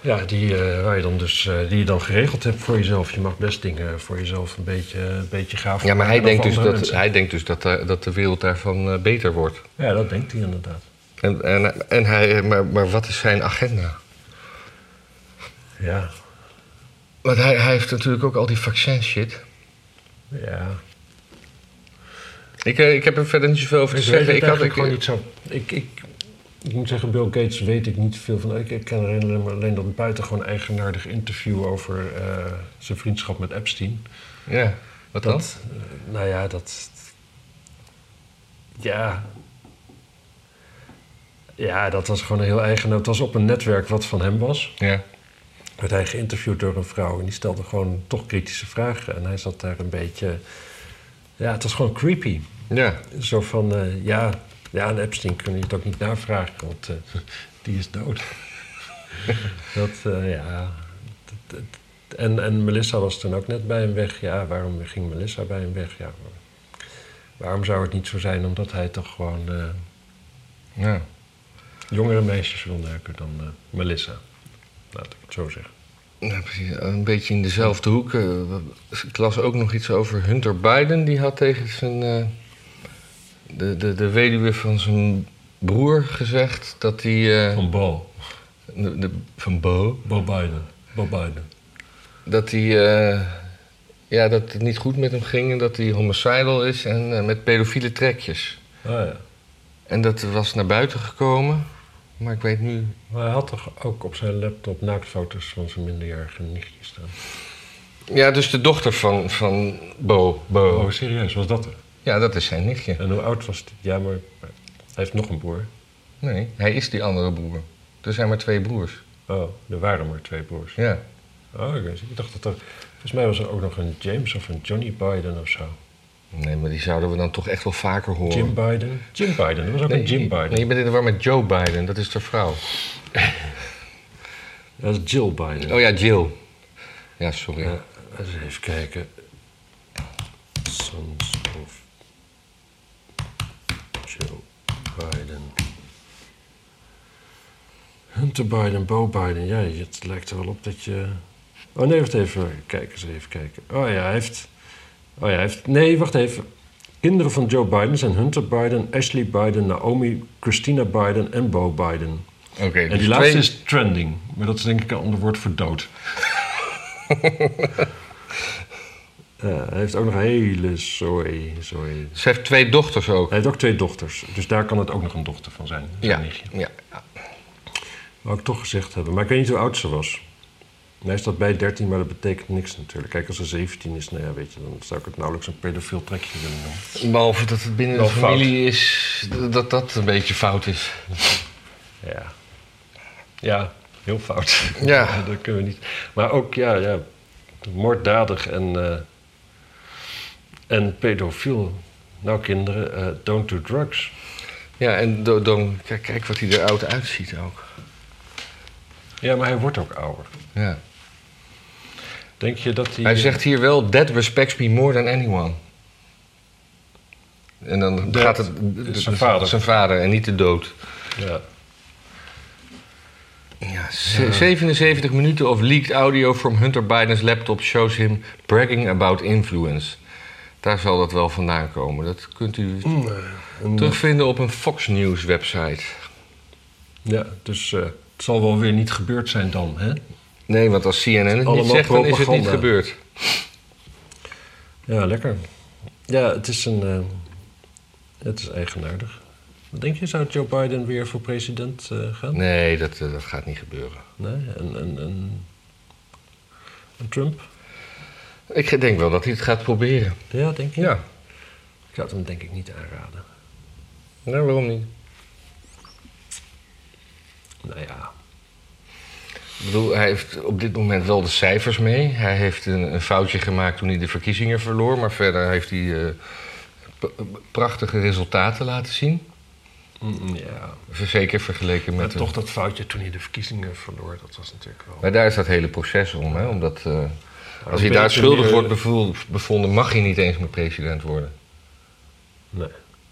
Ja, die, eh, waar je dan dus, eh, die je dan geregeld hebt voor jezelf. Je mag best dingen voor jezelf een beetje, een beetje gaaf
Ja, maar hij
maken dan
denkt,
voor
dus
andere
dat,
mensen.
hij denkt dus dat, daar- dat de wereld daarvan eh, beter wordt.
Ja, dat denkt hij inderdaad.
En, en, en hij, eh, maar, maar wat is zijn agenda?
Ja,
Want hij, hij heeft natuurlijk ook al die vaccin shit.
ja.
Dus Ik, eh, ik heb er verder niet zoveel over te
Ik weet
zeggen.
het
Ik had eh,
eigenlijk
ik,
gewoon niet zo... Ik, ik, ik moet zeggen, Bill Gates weet ik niet veel van. Ik, ik ken alleen, maar- alleen dat buitengewoon eigenaardig interview over eh, zijn vriendschap met Epstein.
Ja, wat dan?
Dat, eh, nou ja, dat. Ja. Ja, dat was gewoon een heel eigen. Het was op een netwerk wat van hem was.
Ja.
Werd hij geïnterviewd door een vrouw en die stelde gewoon toch kritische vragen. En hij zat daar een beetje. Ja, het was gewoon creepy.
Ja.
Zo van, eh, ja, ja, aan Epstein kun je het ook niet navragen, want eh, die is dood. dat, eh, ja. dat- dat- en, en Melissa was toen ook net bij hem weg. Ja, waarom ging Melissa bij hem weg? Ja, waarom zou het niet zo zijn? Omdat hij toch gewoon eh,
ja.
jongere meisjes wil neuken dan eh, Melissa. Laat ik het zo zeggen.
Ja, precies. Een beetje in dezelfde hoek. eh, Ik las ook nog iets over Hunter Biden. Die had tegen zijn, eh, de, de, de weduwe van zijn broer gezegd dat hij... eh,
Van Bo.
de, de- van Bo?
Bo Biden. Bo Biden.
Dat hij... eh, ja, dat het niet goed met hem ging en dat hij homicidal is en eh, met pedofiele trekjes.
Ah ja.
En dat was naar buiten gekomen. Maar ik weet nu...
Maar hij had toch ook op zijn laptop naaktfoto's van zijn minderjarige nichtje staan?
Ja, dus de dochter van, van Bo. Bo.
Oh, serieus? Was dat er?
Ja, dat is zijn nichtje.
En hoe oud was hij? Ja, maar hij heeft nog een broer.
Nee, hij is die andere broer. Er zijn maar twee broers.
Oh, er waren maar twee broers.
Ja.
Oh, oké. Dus ik dacht dat er... Volgens mij was er ook nog een James of een Johnny Biden of zo.
Nee, maar die zouden we dan toch echt wel vaker horen.
Jim Biden? Jim Biden, er was ook
nee,
een Jim Biden.
Nee, je bent in de war met Joe Biden, dat is de vrouw.
Dat is Jill Biden.
Oh ja, Jill. Ja, sorry.
Ja, eens even kijken. Sons of Joe Biden. Hunter Biden, Bo Biden. Ja, het lijkt er wel op dat je... Oh nee, wacht even. Kijk eens even kijken. Oh ja, hij heeft... Oh ja, hij heeft... Nee, wacht even. Kinderen van Joe Biden zijn Hunter Biden, Ashley Biden, Naomi, Christina Biden en Bo Biden.
Oké,
En
dus
die laatste
twee-
is trending. Maar dat is denk ik een ander woord voor dood. Ja, Eh, hij heeft ook nog een hele zooi, zooi.
Ze heeft twee dochters ook.
Hij heeft ook twee dochters. Dus daar kan het ook nog een dochter van zijn. zijn
Ja,
nichtje.
ja.
Wou ik toch gezegd hebben. Maar ik weet niet hoe oud ze was. Nou, Hij staat bij 13, maar dat betekent niks natuurlijk. Kijk, als ze 17 is, nou ja, weet je, dan zou ik het nauwelijks een pedofiel trekje willen noemen.
Behalve dat het binnen
Wel
de familie is, d- dat dat een beetje fout is.
Ja. Ja, heel fout.
Ja.
dat kunnen we niet. Maar ook, ja, ja moorddadig en, eh, en pedofiel. Nou, kinderen, eh, don't do drugs.
Ja, en do- dan, kijk, kijk wat hij er oud uitziet ook.
Ja, maar hij wordt ook ouder.
Ja.
Denk je dat hij...
Hij zegt hier wel, that respects me more than anyone. En dan
Dat
gaat het... dus
is zijn vader.
Zijn vader en niet de dood.
Ja.
Ja, ze- 77 minuten of leaked audio from Hunter Biden's laptop shows him bragging about influence. Daar zal dat wel vandaan komen. Dat kunt u
Mm.
terugvinden op een Fox News website.
ja, dus eh, het zal wel weer niet gebeurd zijn dan, hè?
Nee, want als CNN het niet
Allemaal
zegt, dan is het niet
propaganda.
gebeurd.
Ja, lekker. Ja, het is een... eh, het is eigenaardig. Wat denk je, zou Joe Biden weer voor president eh, gaan?
Nee, dat, eh, dat gaat niet gebeuren.
Nee, en, en, en, en Trump?
Ik denk wel dat hij het gaat proberen.
Ja, denk je?
Ja.
Ik zou het hem denk ik niet aanraden.
Nou, waarom niet?
Nou ja.
Ik bedoel, hij heeft op dit moment wel de cijfers mee. Hij heeft een, een foutje gemaakt toen hij de verkiezingen verloor. Maar verder heeft hij eh, p- prachtige resultaten laten zien.
Mm, ja.
Zeker vergeleken met...
Maar
de-
toch dat foutje toen hij de verkiezingen verloor, dat was natuurlijk wel...
Maar daar is dat hele proces om, hè? Omdat eh, als hij
ben
daar
ik
schuldig
weer-
wordt bevoel- bevonden, mag hij niet eens meer president worden.
Nee.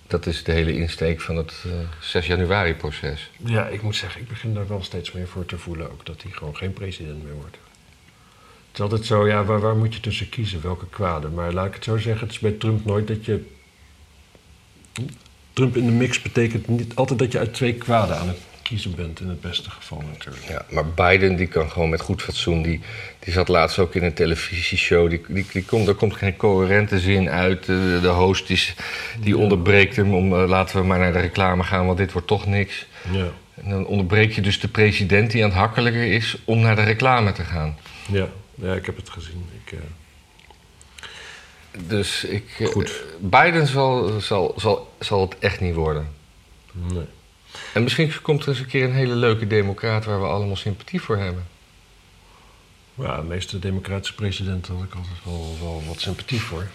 Dat is de hele insteek van het eh, 6 januari-proces.
Ja, ik moet zeggen, ik begin daar wel steeds meer voor te voelen ook. Dat hij gewoon geen president meer wordt. Het is altijd zo, ja, waar, waar moet je tussen kiezen? Welke kwade? Maar laat ik het zo zeggen, het is bij Trump nooit dat je... Trump in de mix betekent niet altijd dat je uit twee kwaden aan het kiezen bent. In het beste geval natuurlijk.
Ja, maar Biden die kan gewoon met goed fatsoen. Die, die zat laatst ook in een televisieshow. Die, die, die komt, daar komt geen coherente zin uit. De, de host is, die onderbreekt hem om eh, laten we maar naar de reclame gaan, want dit wordt toch niks.
Ja.
En dan onderbreek je dus de president die aan het hakkelijker is om naar de reclame te gaan.
Ja, ja ik heb het gezien. Ik, eh,
Dus ik, eh,
Goed.
Biden zal, zal, zal, zal het echt niet worden.
nee.
En misschien komt er eens een keer een hele leuke democraat waar we allemaal sympathie voor hebben.
Ja, de meeste democratische presidenten had ik altijd wel, wel wat sympathie voor.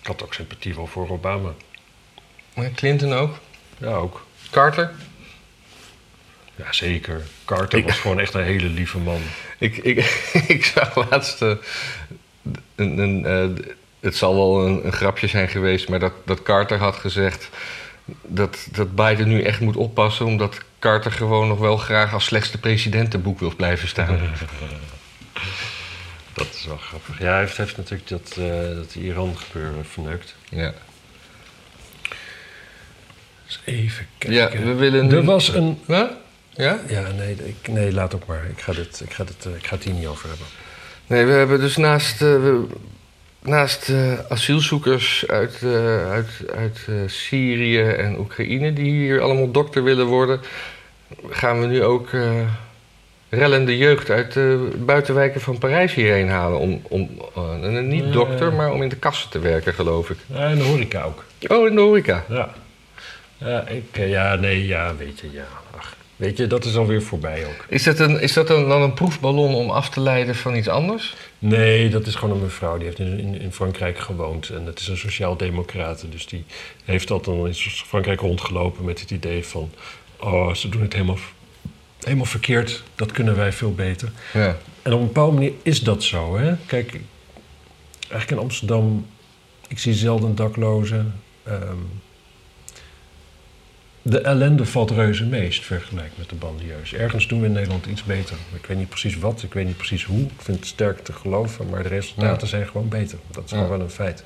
Ik had ook sympathie wel voor Obama.
Maar Clinton ook.
Ja, ook.
Carter.
Ja, zeker. Carter
Ik-
was gewoon echt een hele lieve man.
Ik, ik, ik zag laatst. eh, een, een, eh, het zal wel een, een grapje zijn geweest, maar dat, dat Carter had gezegd. Dat, dat Biden nu echt moet oppassen, omdat Carter gewoon nog wel graag als slechtste presidentenboek wil blijven staan.
Dat is wel grappig. Ja, hij heeft, heeft natuurlijk dat, eh, dat Iran gebeuren verneukt.
Ja,
Dus even
ja
kijken.
we willen. nu-
eh, er was een...
Huh? Ja?
Ja, nee, ik, nee, laat ook maar. Ik ga, dit, ik, ga dit, eh, ik ga het hier niet over hebben.
Nee, we hebben dus naast, eh, we- naast eh, asielzoekers uit, eh, uit, uit eh, Syrië en Oekraïne die hier allemaal dokter willen worden, gaan we nu ook eh, rellende jeugd uit de buitenwijken van Parijs hierheen halen. Om, om, eh,
Ja.
niet dokter, maar om in de kassen te werken, geloof ik.
Ja, en de horeca ook.
Oh, in de horeca.
Ja. Ja, ik, eh, ja, nee, ja, weet je, ja. Ach, weet je, dat is alweer voorbij ook.
Is dat, een, is dat een, dan een proefballon om af te leiden van iets anders?
Nee, dat is gewoon een mevrouw. Die heeft in, in, in Frankrijk gewoond. En dat is een sociaal-democrate. Dus die heeft dat dan in Frankrijk rondgelopen met het idee van... Oh, ze doen het helemaal, helemaal verkeerd. Dat kunnen wij veel beter.
Ja.
En op een bepaalde manier is dat zo. Hè? Kijk, eigenlijk in Amsterdam, ik zie zelden daklozen. Ehm, de ellende valt reuze meest vergelijkt met de bandieus. Ergens doen we in Nederland iets beter. Ik weet niet precies wat, ik weet niet precies hoe. Ik vind het sterk te geloven, maar de resultaten zijn gewoon beter. Dat is
Ja.
gewoon wel een feit.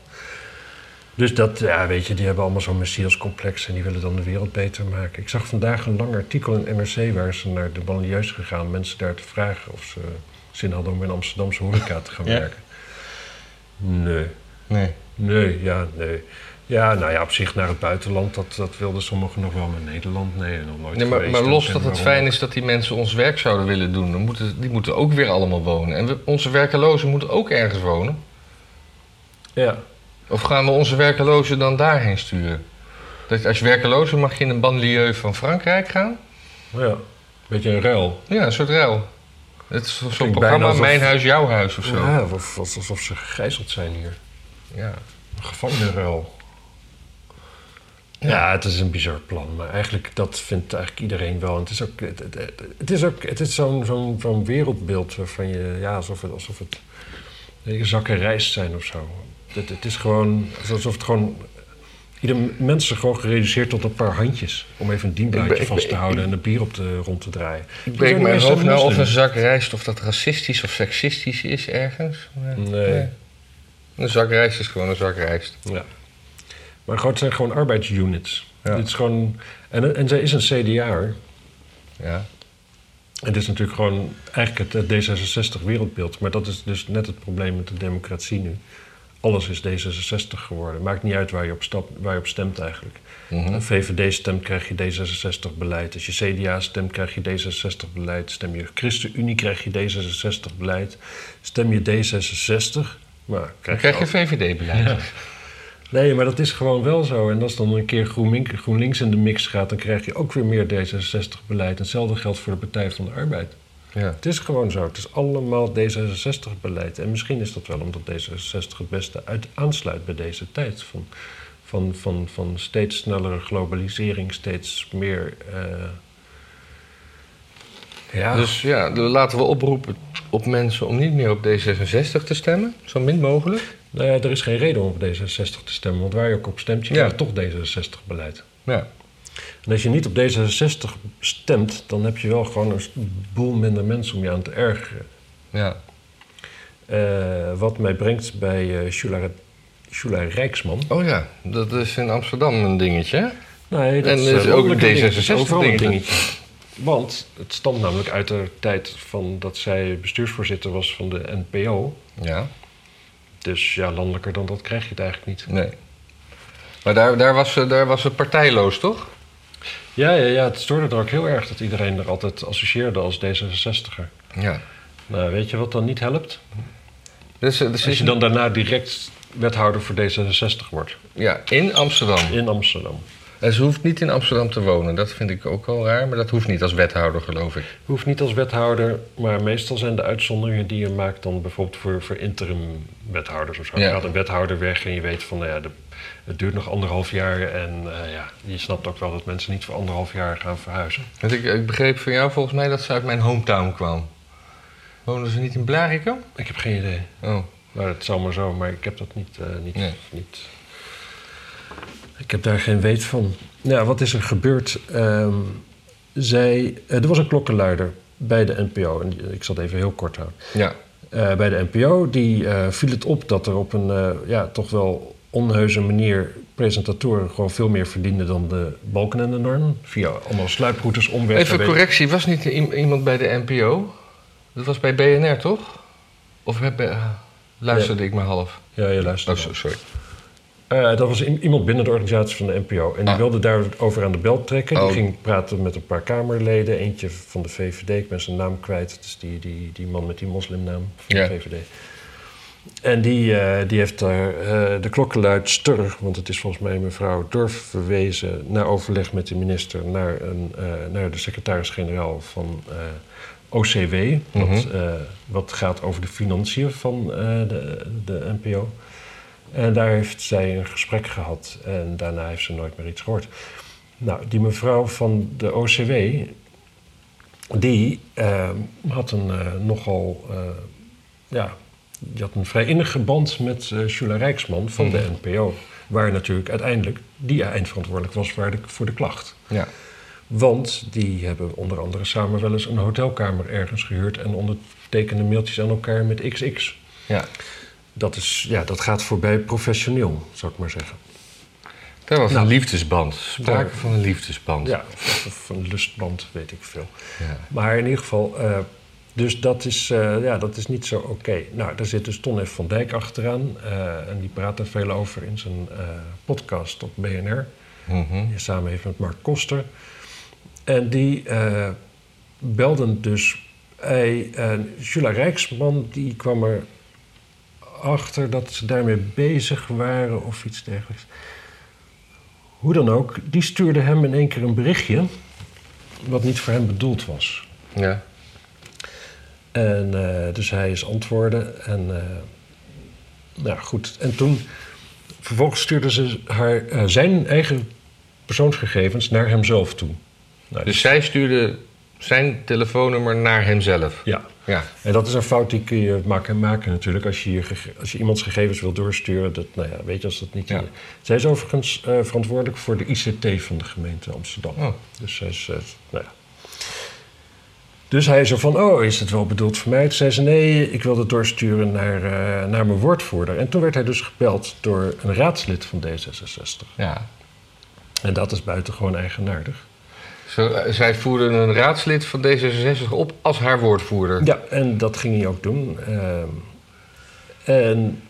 Dus dat, ja, weet je, die hebben allemaal zo'n messiascomplex en die willen dan de wereld beter maken. Ik zag vandaag een lang artikel in NRC waar ze naar de bandieus gegaan, mensen daar te vragen of ze zin hadden om in Amsterdamse horeca te gaan
Ja.
werken. Nee,
Nee.
nee, ja, nee. Ja, nou ja, op zich naar het buitenland, dat, dat wilden sommigen nog wel, maar Nederland, nee, nog nooit
Nee, maar,
geweest.
maar
En
los
ben
dat het
waarom
fijn
ook.
is dat die mensen ons werk zouden willen doen, dan moeten, die moeten ook weer allemaal wonen. En we, onze werkelozen moeten ook ergens wonen.
Ja,
Of gaan we onze werkelozen dan daarheen sturen? Dat als werkeloze mag je in een banlieue van Frankrijk gaan?
ja, beetje een ruil.
Ja, een soort ruil. Het is zo'n
Klinkt bijna
programma
alsof-
Mijn Huis, Jouw Huis of zo.
Ja, of- of- alsof ze gegijzeld zijn hier.
Ja.
Een gevangenenruil. Ja, het is een bizar plan, maar eigenlijk dat vindt eigenlijk iedereen wel. En het is ook, het, het, het- het is ook, het is zo'n zo'n zo'n wereldbeeld waarvan je, ja, alsof het, alsof het weet je, zakken rijst zijn of zo. Het, het is gewoon alsof het gewoon ieder mens is gewoon gereduceerd tot een paar handjes om even een dienblaadje
Ik ben- ik ben-
vast te houden en een bier op de rond te draaien.
Ik
zijn
breek
de
mijn
meeste
hoofd nou of een
moslims.
zak rijst of dat racistisch of seksistisch is ergens. Maar-
Nee.
Een zak rijst is gewoon een zak rijst.
Ja. Maar gewoon, het zijn gewoon arbeidsunits.
Ja.
Het is gewoon, en, en zij is een CDA'er.
Ja.
Het is natuurlijk gewoon eigenlijk het D66 wereldbeeld. Maar dat is dus net het probleem met de democratie nu. Alles is D66 geworden. Maakt niet uit waar je op, stap, waar je op stemt eigenlijk.
Mhm.
Als VVD stemt, krijg je D66 beleid. Als je CDA stemt, krijg je D66 beleid. Stem je ChristenUnie, krijg je D66 beleid. Stem je D66, nou,
Dan
krijg je
krijg je VVD-beleid.
Nee, maar dat is gewoon wel zo. En als dan een keer GroenLink- GroenLinks in de mix gaat, dan krijg je ook weer meer D66-beleid. En hetzelfde geldt voor de Partij van de Arbeid.
Ja.
Het is gewoon zo. Het is allemaal D66-beleid. En misschien is dat wel omdat D66 het beste uit, aansluit bij deze tijd. Van, van, van, van steeds snellere globalisering, steeds meer. eh, ja,
Dus ja, de- laten we oproepen op mensen om niet meer op D66 te stemmen. Zo min mogelijk.
nou ja, er is geen reden om op D66 te stemmen. Want waar je ook op stemt, je
Ja.
krijgt toch D66-beleid.
Ja.
En als je niet op D66 stemt, dan heb je wel gewoon een boel minder mensen om je aan te ergeren.
ja.
Eh, wat mij brengt bij eh Shula, Shula Rijksman.
Oh ja, dat is in Amsterdam een dingetje. hè?
Nee,
En dat is
eh,
ook
een
een
dingetje.
D66
Overal een
dingetje.
dingetje. Want het stamt namelijk uit de tijd van dat zij bestuursvoorzitter was van de NPO.
Ja.
Dus ja, landelijker dan dat krijg je het eigenlijk niet.
Nee. Maar daar, daar, was ze, daar was ze partijloos, toch?
Ja, ja, ja, het stoorde er ook heel erg dat iedereen er altijd associeerde als D66er.
Ja.
Nou, weet je wat dan niet helpt?
Dus, eh, dus
Als
is-
je dan daarna direct wethouder voor D66 wordt
ja, in Amsterdam.
in Amsterdam.
En ze hoeft niet in Amsterdam te wonen. Dat vind ik ook al raar, maar dat hoeft niet als wethouder, geloof ik.
Hoeft niet als wethouder, maar meestal zijn de uitzonderingen die je maakt dan bijvoorbeeld voor, voor interim wethouders of zo.
Ja.
Je gaat een wethouder weg en je weet van, nou ja, de- het duurt nog anderhalf jaar en eh, ja, je snapt ook wel dat mensen niet voor anderhalf jaar gaan verhuizen.
Want ik, ik begreep van jou volgens mij dat ze uit mijn hometown kwam. Wonen ze niet in Blarikum?
Ik heb geen idee.
Oh,
Maar het zal maar zo, maar ik heb dat niet, eh, niet,
Nee.
niet. Ik heb daar geen weet van. Ja, wat is er gebeurd? Ehm, zij, eh, er was een klokkenluider bij de NPO. En die- ik zal het even heel kort houden.
ja.
Eh, bij de NPO die, eh, viel het op dat er op een eh, ja, toch wel onheuze manier presentatoren gewoon veel meer verdienden dan de balken en de norm. Via allemaal sluiproutes, omwegen.
Even
weet-
correctie, was niet i- iemand bij de NPO? Dat was bij BNR, toch? Of heb- eh, luisterde ik maar half?
Ja, je luistert.
Oh,
wel.
so- sorry.
Eh, dat was i- iemand binnen de organisatie van de NPO. En die
Ah.
wilde daarover aan de bel trekken.
Oh.
Die ging praten met een paar Kamerleden. Eentje van de VVD, ik ben zijn naam kwijt. Het is die, die, die man met die moslimnaam van
Ja.
de VVD. En die, eh, die heeft daar eh, de klokkenluidster, want het is volgens mij mevrouw Durf verwezen, na overleg met de minister naar, een, eh, naar de secretaris-generaal van eh, OCW, wat,
Mhm.
eh, wat gaat over de financiën van eh, de, de NPO. En daar heeft zij een gesprek gehad en daarna heeft ze nooit meer iets gehoord. Nou, die mevrouw van de OCW, die eh, had een eh, nogal, eh, ja, die had een vrij innige band met eh Jula Rijksman van de NPO. Waar natuurlijk uiteindelijk die eindverantwoordelijk was waar de- voor de klacht.
Ja.
Want die hebben onder andere samen wel eens een hotelkamer ergens gehuurd en ondertekende mailtjes aan elkaar met XX.
ja.
Dat, is, ja, dat gaat voorbij professioneel, zou ik maar zeggen.
Daar was
Nou.
een liefdesband. Sprake
Daar-
van een liefdesband.
Ja, of of een lustband, weet ik veel.
Ja.
Maar in ieder geval, eh, dus dat is, eh, ja, dat is niet zo oké. Nou, daar zit dus Ton F. van Dijk achteraan. eh, en die praat daar veel over in zijn eh, podcast op BNR.
Mhm.
Die hij samen heeft met Mark Koster. En die eh, belden dus. Hij, en Jula Rijksman die kwam erachter dat ze daarmee bezig waren of iets dergelijks. Hoe dan ook, die stuurde hem in één keer een berichtje. wat niet voor hem bedoeld was.
ja.
En eh, dus hij is antwoorden. En eh, nou goed. En toen, vervolgens stuurde ze haar, eh, zijn eigen persoonsgegevens naar hemzelf toe. Nou,
Dus zij stuurde zijn telefoonnummer naar hemzelf.
ja.
Ja.
En dat is een fout die kun je maken, maken natuurlijk. Als je, je gege- als je iemands gegevens wil doorsturen, dat, nou ja, weet je als dat niet...
Ja.
Zij is overigens eh, verantwoordelijk voor de ICT van de gemeente Amsterdam.
Oh.
Dus hij is, eh, nou ja. Dus hij is er van, oh, is het wel bedoeld voor mij? Toen zei ze, nee, ik wil het doorsturen naar, eh, naar mijn woordvoerder. En toen werd hij dus gebeld door een raadslid van D66.
ja.
En dat is buitengewoon eigenaardig.
Zo, eh, zij voerde een raadslid van D66 op als haar woordvoerder.
Ja, en dat ging hij ook doen. Ehm, en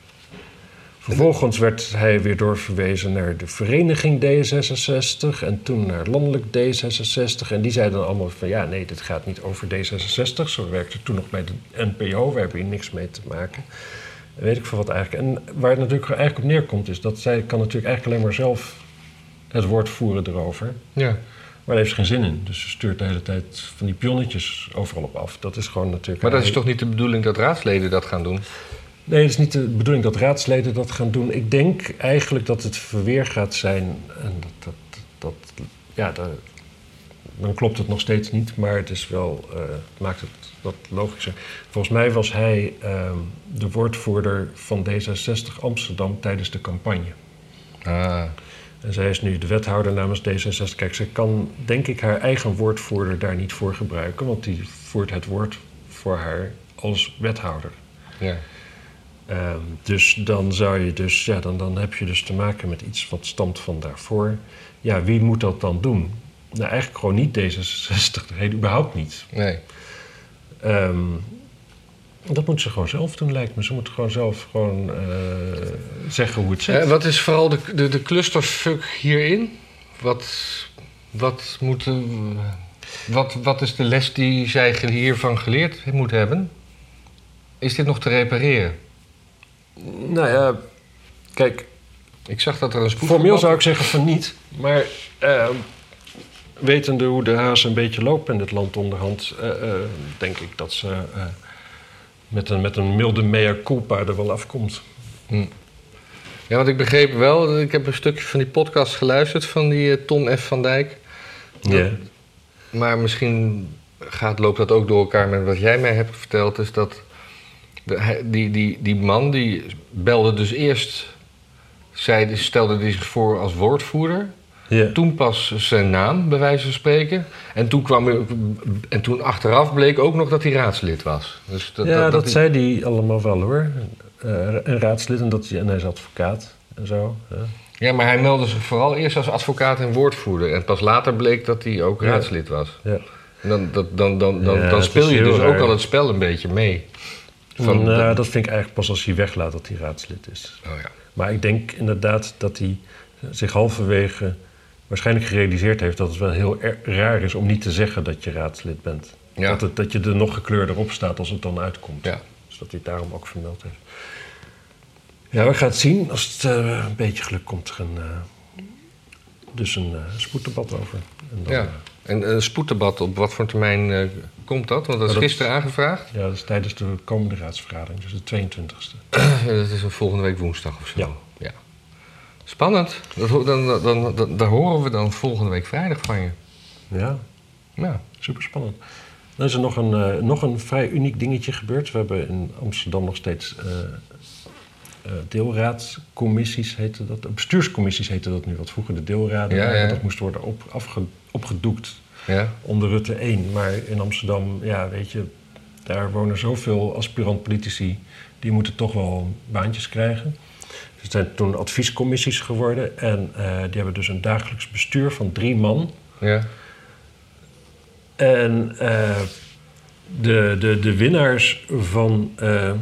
vervolgens werd hij weer doorverwezen naar de vereniging D66 en toen naar landelijk D66. En die zeiden dan allemaal van ja, nee, dit gaat niet over D66. Zo werkte toen nog bij de NPO, we hebben hier niks mee te maken. Weet ik veel wat eigenlijk. En waar het natuurlijk eigenlijk op neerkomt is dat zij kan natuurlijk eigenlijk alleen maar zelf het woord voeren erover.
Ja.
Maar daar heeft ze geen zin in. Dus ze stuurt de hele tijd van die pionnetjes overal op af. Dat is gewoon natuurlijk...
Maar dat is toch niet de bedoeling dat raadsleden dat gaan doen?
Nee, het is niet de bedoeling dat raadsleden dat gaan doen. Ik denk eigenlijk dat het verweer gaat zijn. En dat, dat, dat, ja, daar- dan klopt het nog steeds niet, maar het is wel, eh, het maakt het wat logischer. Volgens mij was hij ehm, de woordvoerder van D66 Amsterdam tijdens de campagne.
Ah.
En zij is nu de wethouder namens D66. Kijk, ze kan denk ik haar eigen woordvoerder daar niet voor gebruiken, want die voert het woord voor haar als wethouder.
Ja.
Ehm, dus dan zou je dus, ja, dan, dan heb je dus te maken met iets wat stamt van daarvoor. Ja, wie moet dat dan doen? Nou, eigenlijk gewoon niet D66, nee, überhaupt niet.
Nee.
Ehm, dat moet ze gewoon zelf doen, lijkt me. Ze moet gewoon zelf gewoon eh, zeggen hoe het zit.
Eh, wat is vooral de, de, de clusterfuck hierin? Wat, wat, moeten, wat, wat is de les die zij ge- hiervan geleerd moet hebben? Is dit nog te repareren?
Nou ja, kijk,
Ik zag dat er een spoed...
Formeel zou ik zeggen van niet, maar eh, wetende hoe de haas een beetje loopt in dit land onderhand, eh, eh, denk ik dat ze eh, met, een, met een milde mea culpa er wel afkomt.
Ja, want ik begreep wel, ik heb een stukje van die podcast geluisterd van die eh, Ton F. van Dijk. Ja. Maar misschien gaat, loopt dat ook door elkaar met wat jij mij hebt verteld. Is dat de- hij- die, die, die man die belde dus eerst, zei, stelde die zich voor als woordvoerder.
Ja.
Toen pas zijn naam, bij wijze van spreken. En toen, kwam, en toen achteraf bleek ook nog dat hij raadslid was. Dus dat,
Ja,
dat-
dat,
dat-
zei die allemaal wel hoor. Eh, een raadslid en, dat, en hij is advocaat en zo. hè.
ja, maar hij meldde zich vooral eerst als advocaat en woordvoerder. En pas later bleek dat hij ook
Ja.
raadslid was.
Ja.
En dan, dat, dan, dan, dan,
Ja,
dan
dat
speel
is
je
heel
dus ook
raar.
al het spel een beetje mee. Van,
Nou, dat vind ik eigenlijk pas als hij weglaat dat hij raadslid is.
oh ja.
Maar ik denk inderdaad dat hij eh, zich halverwege waarschijnlijk gerealiseerd heeft dat het wel heel er- raar is om niet te zeggen dat je raadslid bent.
Ja.
Dat, het, dat je er nog gekleurder op staat als het dan uitkomt.
Ja.
Dus dat hij het daarom ook vermeld heeft. Ja, we gaan het zien. Als het eh, een beetje geluk komt, er een, eh, dus een eh, spoeddebat over. En dan, eh,
Ja. En een spoeddebat, op wat voor termijn eh, komt dat? Want dat
Nou,
is
dat-
gisteren aangevraagd.
Ja, dat is tijdens de komende raadsvergadering, dus de 22e.
Ja, dat is volgende week woensdag of zo.
Ja.
Ja. Spannend. Dat, ho- dan, dan, dan, dan- daar horen we dan volgende week vrijdag van je.
Ja,
Ja.
super spannend. Dan is er nog een, eh, nog een vrij uniek dingetje gebeurd. We hebben in Amsterdam nog steeds eh, eh, deelraadcommissies, heette dat. Eh, Bestuurscommissies heette dat nu, wat vroeger de deelraden
Ja,
waren.
ja.
Dat moest worden op, afge- opgedoekt
ja.
onder Rutte 1. Maar in Amsterdam, ja, weet je, daar wonen zoveel aspirant-politici. Die moeten toch wel baantjes krijgen. Dus het zijn toen adviescommissies geworden. En eh, die hebben dus een dagelijks bestuur van drie man.
Ja.
En eh, de, de, de winnaars van. eh,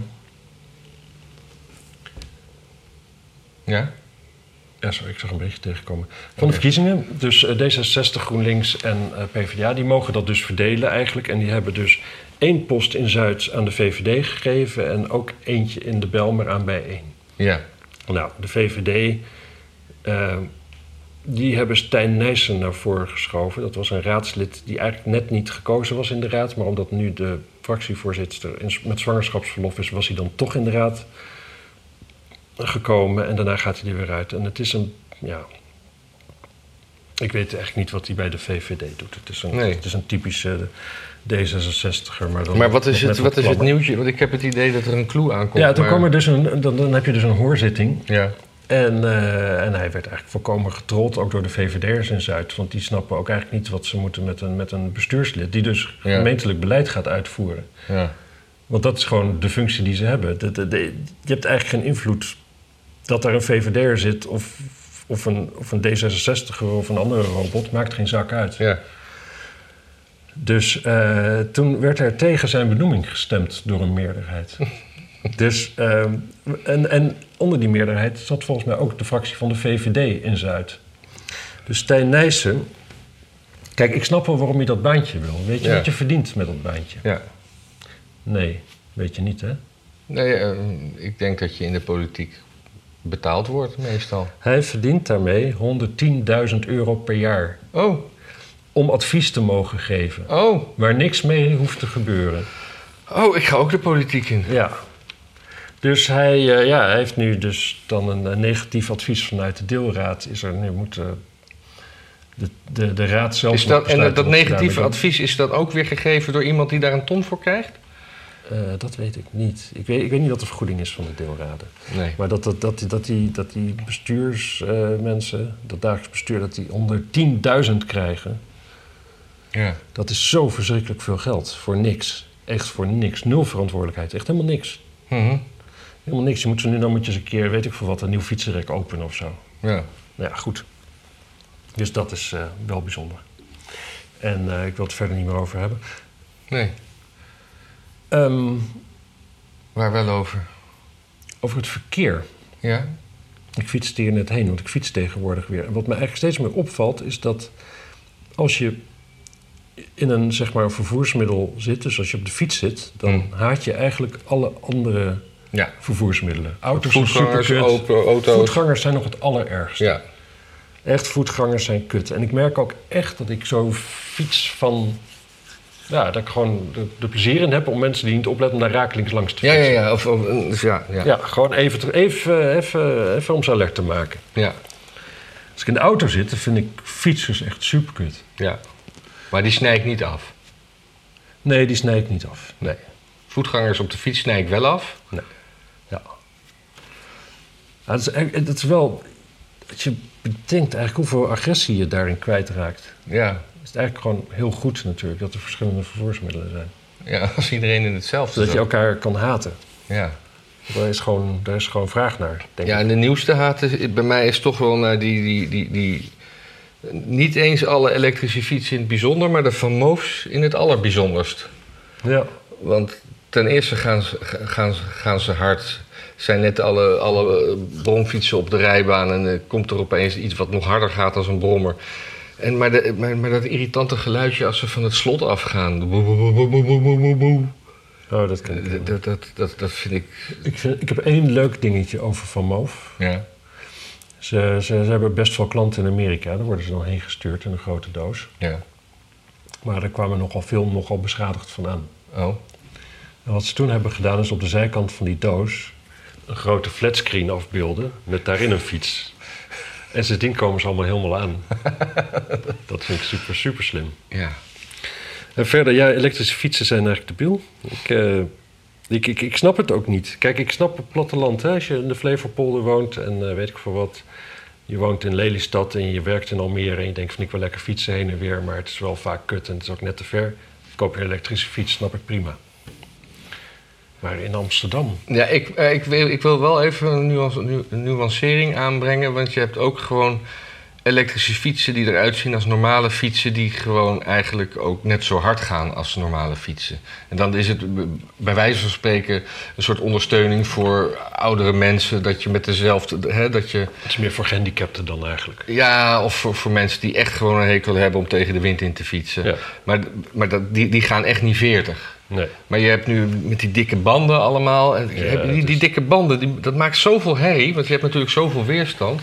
Ja.
ja, sorry, ik zag een beetje tegenkomen. Van de verkiezingen, dus eh, D66, GroenLinks en eh, PvdA, die mogen dat dus verdelen eigenlijk. En die hebben dus één post in Zuid aan de VVD gegeven en ook eentje in de Belmer aan bijeen.
Ja.
Nou, de VVD, eh, die hebben Stijn Nijssen naar voren geschoven. Dat was een raadslid die eigenlijk net niet gekozen was in de raad. Maar omdat nu de fractievoorzitter in- met zwangerschapsverlof is, was hij dan toch in de raad gekomen. En daarna gaat hij er weer uit. En het is een, ja... Ik weet eigenlijk niet wat hij bij de VVD doet. Het is een,
Nee.
het is een typische D66er. Maar, dan
Maar wat is
met
het,
wat
wat is het
plannen.
nieuwtje? Want ik heb het idee dat er een clue aankomt.
Ja, toen
maar-
kwam er dus een, dan, dan heb je dus een hoorzitting.
Ja.
En, eh, en hij werd eigenlijk volkomen getrold, ook door de VVD'ers in Zuid. Want die snappen ook eigenlijk niet wat ze moeten met een, met een bestuurslid... die dus
Ja.
gemeentelijk beleid gaat uitvoeren.
Ja.
Want dat is gewoon de functie die ze hebben. De- de- de- je hebt eigenlijk geen invloed dat daar een VVD'er zit... of, of een, of een D66'er of een andere robot, maakt geen zak uit.
Ja.
Dus eh, toen werd er tegen zijn benoeming gestemd door een meerderheid. dus, ehm, en, en onder die meerderheid zat volgens mij ook de fractie van de VVD in Zuid. Dus Stijn Nijssen... Kijk, ik snap wel waarom je dat baantje wil. Weet je
Ja.
wat je verdient met dat baantje?
ja.
Nee, weet je niet, hè?
Nee, eh, ik denk dat je in de politiek betaald wordt meestal.
Hij verdient daarmee 110.000 euro per jaar...
Oh,
om advies te mogen geven.
oh,
Waar niks mee hoeft te gebeuren.
oh, ik ga ook de politiek in.
Ja. Dus hij, eh, ja, hij heeft nu dus dan een, eh, negatief advies vanuit de deelraad. Is er nu moet eh, de, de, de raad zelf.
Is
nog
dat, en
besluiten
dat, dat
wat ze
negatieve
daarmee
advies, is dat ook weer gegeven door iemand die daar een ton voor krijgt?
doen. Eh, dat weet ik niet. Ik weet, ik weet niet wat de vergoeding is van de deelraden.
Nee.
Maar dat, dat, dat, die- dat, die, dat die bestuursmensen, dat dagelijks bestuur, dat die onder 10.000 krijgen.
Ja.
Dat is zo verschrikkelijk veel geld. Voor niks. Echt voor niks. Nul verantwoordelijkheid. Echt helemaal niks.
Mhm.
Helemaal niks. Je moet ze nu dan moet je eens een keer, weet ik veel wat, een nieuw fietsenrek openen of zo.
ja.
Nou ja, goed. Dus dat is eh, wel bijzonder. En eh, ik wil het verder niet meer over hebben.
Nee,
Ehm,
waar wel over.
over het verkeer.
Ja?
Ik fietste hier net heen, want ik fiets tegenwoordig weer. En wat me eigenlijk steeds meer opvalt, is dat als je in een zeg maar, vervoersmiddel zit, dus als je op de fiets zit, dan
Mm.
haat je eigenlijk alle andere
Ja.
vervoersmiddelen. Auto's zijn
Voetgangers,
superkut.
auto- auto's.
Voetgangers zijn nog het allerergste.
Ja.
Echt, voetgangers zijn kut. En ik merk ook echt dat ik zo fiets van... Ja, dat ik gewoon de, de plezier in heb om mensen die niet opletten... om daar rakelings langs te
Ja,
fietsen.
ja, ja. Of, of, dus ja, ja.
Ja, gewoon even, te- even, even, even om ze alert te maken.
ja.
Als ik in de auto zit, dan vind ik fietsers echt superkut.
Ja. Maar die snijdt niet af.
Nee, die snij ik niet af.
Nee. Voetgangers op de fiets snij ik wel af.
Ja. Ja, dat, is, echt- dat is wel... Dat je bedenkt eigenlijk hoeveel agressie je daarin kwijtraakt.
Ja.
Het is eigenlijk gewoon heel goed natuurlijk... dat er verschillende vervoersmiddelen zijn.
Ja, als iedereen in hetzelfde
Zodat je
zat.
elkaar kan haten.
Ja.
Daar is gewoon, daar is gewoon vraag naar, denk
Ja,
ik.
en de nieuwste haat is, bij mij is toch wel naar die, die, die, die. Niet eens alle elektrische fietsen in het bijzonder, maar de Van Moofs in het allerbijzonderst.
Ja.
Want ten eerste gaan ze, gaan, ze- gaan ze hard. Zijn net alle, alle eh, bromfietsen op de rijbaan en eh, komt er opeens iets wat nog harder gaat dan een brommer. En maar, de, maar, maar dat irritante geluidje als ze van het slot afgaan. Boe, boe, boe, boe, boe, boe, boe, boe.
Oh, dat kan ik
Dat,
niet.
dat, dat, dat, dat vind ik.
ik, ik heb één leuk dingetje over Van Moof.
Ja.
Ze, ze, ze hebben best veel klanten in Amerika. Daar worden ze dan heen gestuurd in een grote doos.
ja.
Maar er kwamen nogal veel nogal beschadigd van aan.
Oh.
En wat ze toen hebben gedaan is op de zijkant van die doos... een grote flatscreen afbeelden met daarin een fiets. En sindsdien komen ze allemaal helemaal aan. Dat vind ik super, super slim.
Ja.
En verder, ja, elektrische fietsen zijn eigenlijk debiel. Ik, eh, ik, ik, ik snap het ook niet. Kijk, ik snap het platteland. Hè? Als je in de Flevopolder woont en eh, weet ik veel wat... je woont in Lelystad en je werkt in Almere... en je denkt van ik wil lekker fietsen heen en weer... maar het is wel vaak kut en het is ook net te ver. Koop je een elektrische fiets, snap ik prima. Maar in Amsterdam...
Ja, ik, eh, ik, wil, ik wil wel even een, nuance, nu- een nuancering aanbrengen. Want je hebt ook gewoon elektrische fietsen die eruit zien als normale fietsen. Die gewoon eigenlijk ook net zo hard gaan als normale fietsen. En dan is het b- bij wijze van spreken een soort ondersteuning voor oudere mensen. Dat je met dezelfde. Hè, dat je,
het is meer voor gehandicapten dan eigenlijk.
ja, of voor, voor mensen die echt gewoon een hekel hebben om tegen de wind in te fietsen.
Ja.
Maar, maar dat, die, die gaan echt niet 40.
Nee.
Maar je hebt nu met die dikke banden allemaal. En
Ja,
heb je die,
het is-
die dikke banden, die, dat maakt zoveel herrie. Want je hebt natuurlijk zoveel weerstand.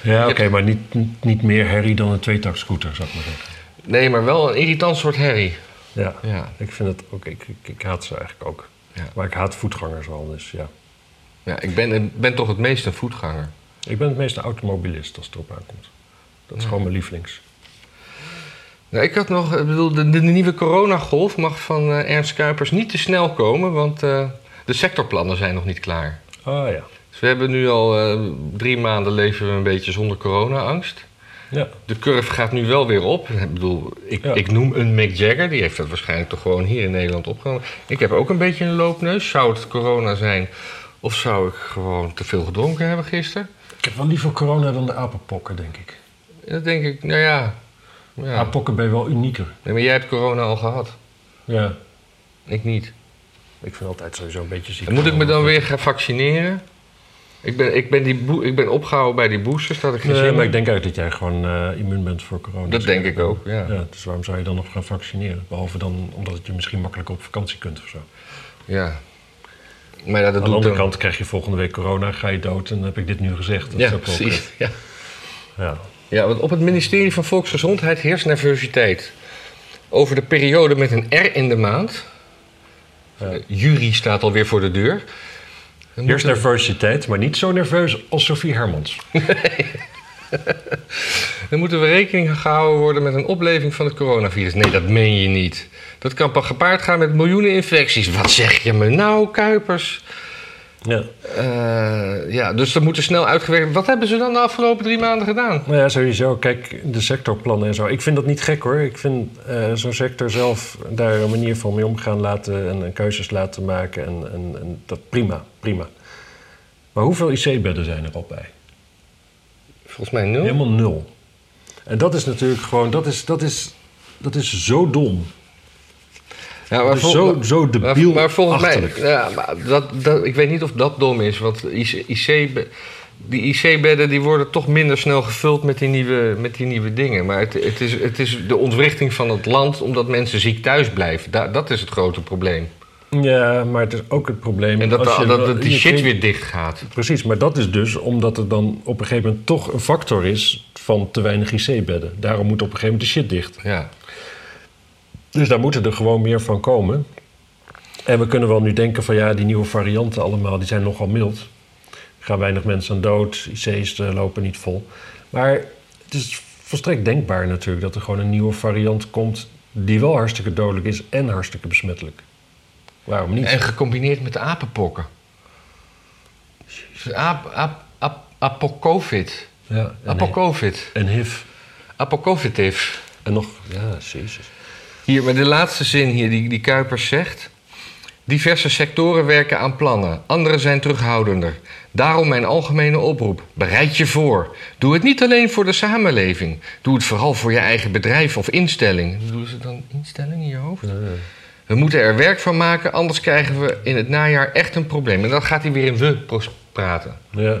Ja, oké, maar niet, niet, niet meer herrie dan een tweetakscooter, zou ik maar zeggen.
Nee, maar wel een irritant soort herrie.
Ja.
Ja.
Ik vind het ook, ik, ik, ik haat ze eigenlijk ook.
Ja.
Maar ik haat voetgangers wel, dus ja.
ja ik ben, ik ben toch het meest een voetganger.
Ik ben het meeste automobilist als het erop aankomt. Dat is gewoon mijn lievelings.
Nou, ik had nog, ik bedoel, de, de nieuwe coronagolf mag van eh, Ernst Kuipers niet te snel komen. Want eh, de sectorplannen zijn nog niet klaar.
Ah ja.
Dus we hebben nu al eh, drie maanden leven we een beetje zonder corona-angst.
Ja,
De curve gaat nu wel weer op. Ik bedoel, ik,
Ja.
ik noem een Mick Jagger. Die heeft dat waarschijnlijk toch gewoon hier in Nederland opgenomen. Ik heb ook een beetje een loopneus. Zou het corona zijn? Of zou ik gewoon te veel gedronken hebben gisteren?
ik heb wel liever corona dan de apenpokken, denk ik.
En dan denk ik, nou ja. ja.
Apenpokken ben je wel unieker.
Nee, maar jij hebt corona al gehad.
Ja.
Ik niet.
Ik vind altijd sowieso een beetje ziek.
En moet ik me dan weer gaan vaccineren? Ik ben, ik ben, die boe- ik ben opgehouden bij die boosters. Dat had ik geen
Nee,
zin
maar
in.
ik denk uit dat jij gewoon eh, immuun bent voor corona.
Dat denk ik ook, ja.
Ja, dus waarom zou je dan nog gaan vaccineren? Behalve dan omdat het je misschien makkelijker op vakantie kunt of zo.
ja. Maar ja, dat
Aan de
doe ik
andere
dan.
kant krijg je volgende week corona, ga je dood en dan heb ik dit nu gezegd. Dat is
ja,
ook wel kut.
precies. Ja.
Ja.
Ja, want op het ministerie van Volksgezondheid heerst nervositeit. Over de periode met een R in de maand.
Ja.
Eh, jury staat alweer voor de deur. Dan
Eerst
moeten-
nervositeit, maar niet zo nerveus als Sophie Hermans.
Dan moeten we rekening gehouden worden met een opleving van het coronavirus. Nee, dat meen je niet. Dat kan pas gepaard gaan met miljoenen infecties. Wat zeg je me nou, Kuipers?
Ja.
Eh, ja, dus dat moet er snel uitgewerkt worden. Wat hebben ze dan de afgelopen drie maanden gedaan?
Nou ja, sowieso. Kijk, de sectorplannen en zo. Ik vind dat niet gek hoor. Ik vind eh, zo'n sector zelf daar een manier van mee omgaan laten en, en keuzes laten maken. En, en, en dat prima, prima. Maar hoeveel IC-bedden zijn er al bij?
Volgens mij nul.
Helemaal nul. En dat is natuurlijk gewoon, dat is, dat is, dat is zo dom.
Ja,
Dat is
vol-
zo, zo
Maar,
debiel
maar volgens mij,
achterlijk.
ja, maar dat, dat, ik weet niet of dat dom is, want IC, IC be- die IC-bedden die worden toch minder snel gevuld met die nieuwe, met die nieuwe dingen. Maar het, het, is, het is de ontwrichting van het land omdat mensen ziek thuis blijven. Da- dat is het grote probleem.
Ja, maar het is ook het probleem.
En dat,
als je-
dat, dat die
je
shit
kunt-
weer dicht gaat.
Precies, maar dat is dus omdat er dan op een gegeven moment toch een factor is van te weinig IC-bedden. Daarom moet op een gegeven moment de shit dicht.
Ja.
Dus daar moeten er gewoon meer van komen. En we kunnen wel nu denken van ja, die nieuwe varianten allemaal, die zijn nogal mild. Er gaan weinig mensen aan dood, IC's eh, lopen niet vol. Maar het is volstrekt denkbaar natuurlijk dat er gewoon een nieuwe variant komt die wel hartstikke dodelijk is en hartstikke besmettelijk. Waarom niet?
En gecombineerd met de apenpokken. Dus Ap, ap, ap, apocovid.
Ja, en,
Apocovid.
en HIV.
Apocovitiv.
En nog, ja, jezus.
Hier, maar de laatste zin hier die, die Kuipers zegt. Diverse sectoren werken aan plannen, anderen zijn terughoudender. Daarom mijn algemene oproep: bereid je voor. Doe het niet alleen voor de samenleving. Doe het vooral voor je eigen bedrijf of instelling. Doen ze dan instelling in je hoofd? We moeten er werk van maken, anders krijgen we in het najaar echt een probleem. En dan gaat hij weer in we pros- praten.
Ja.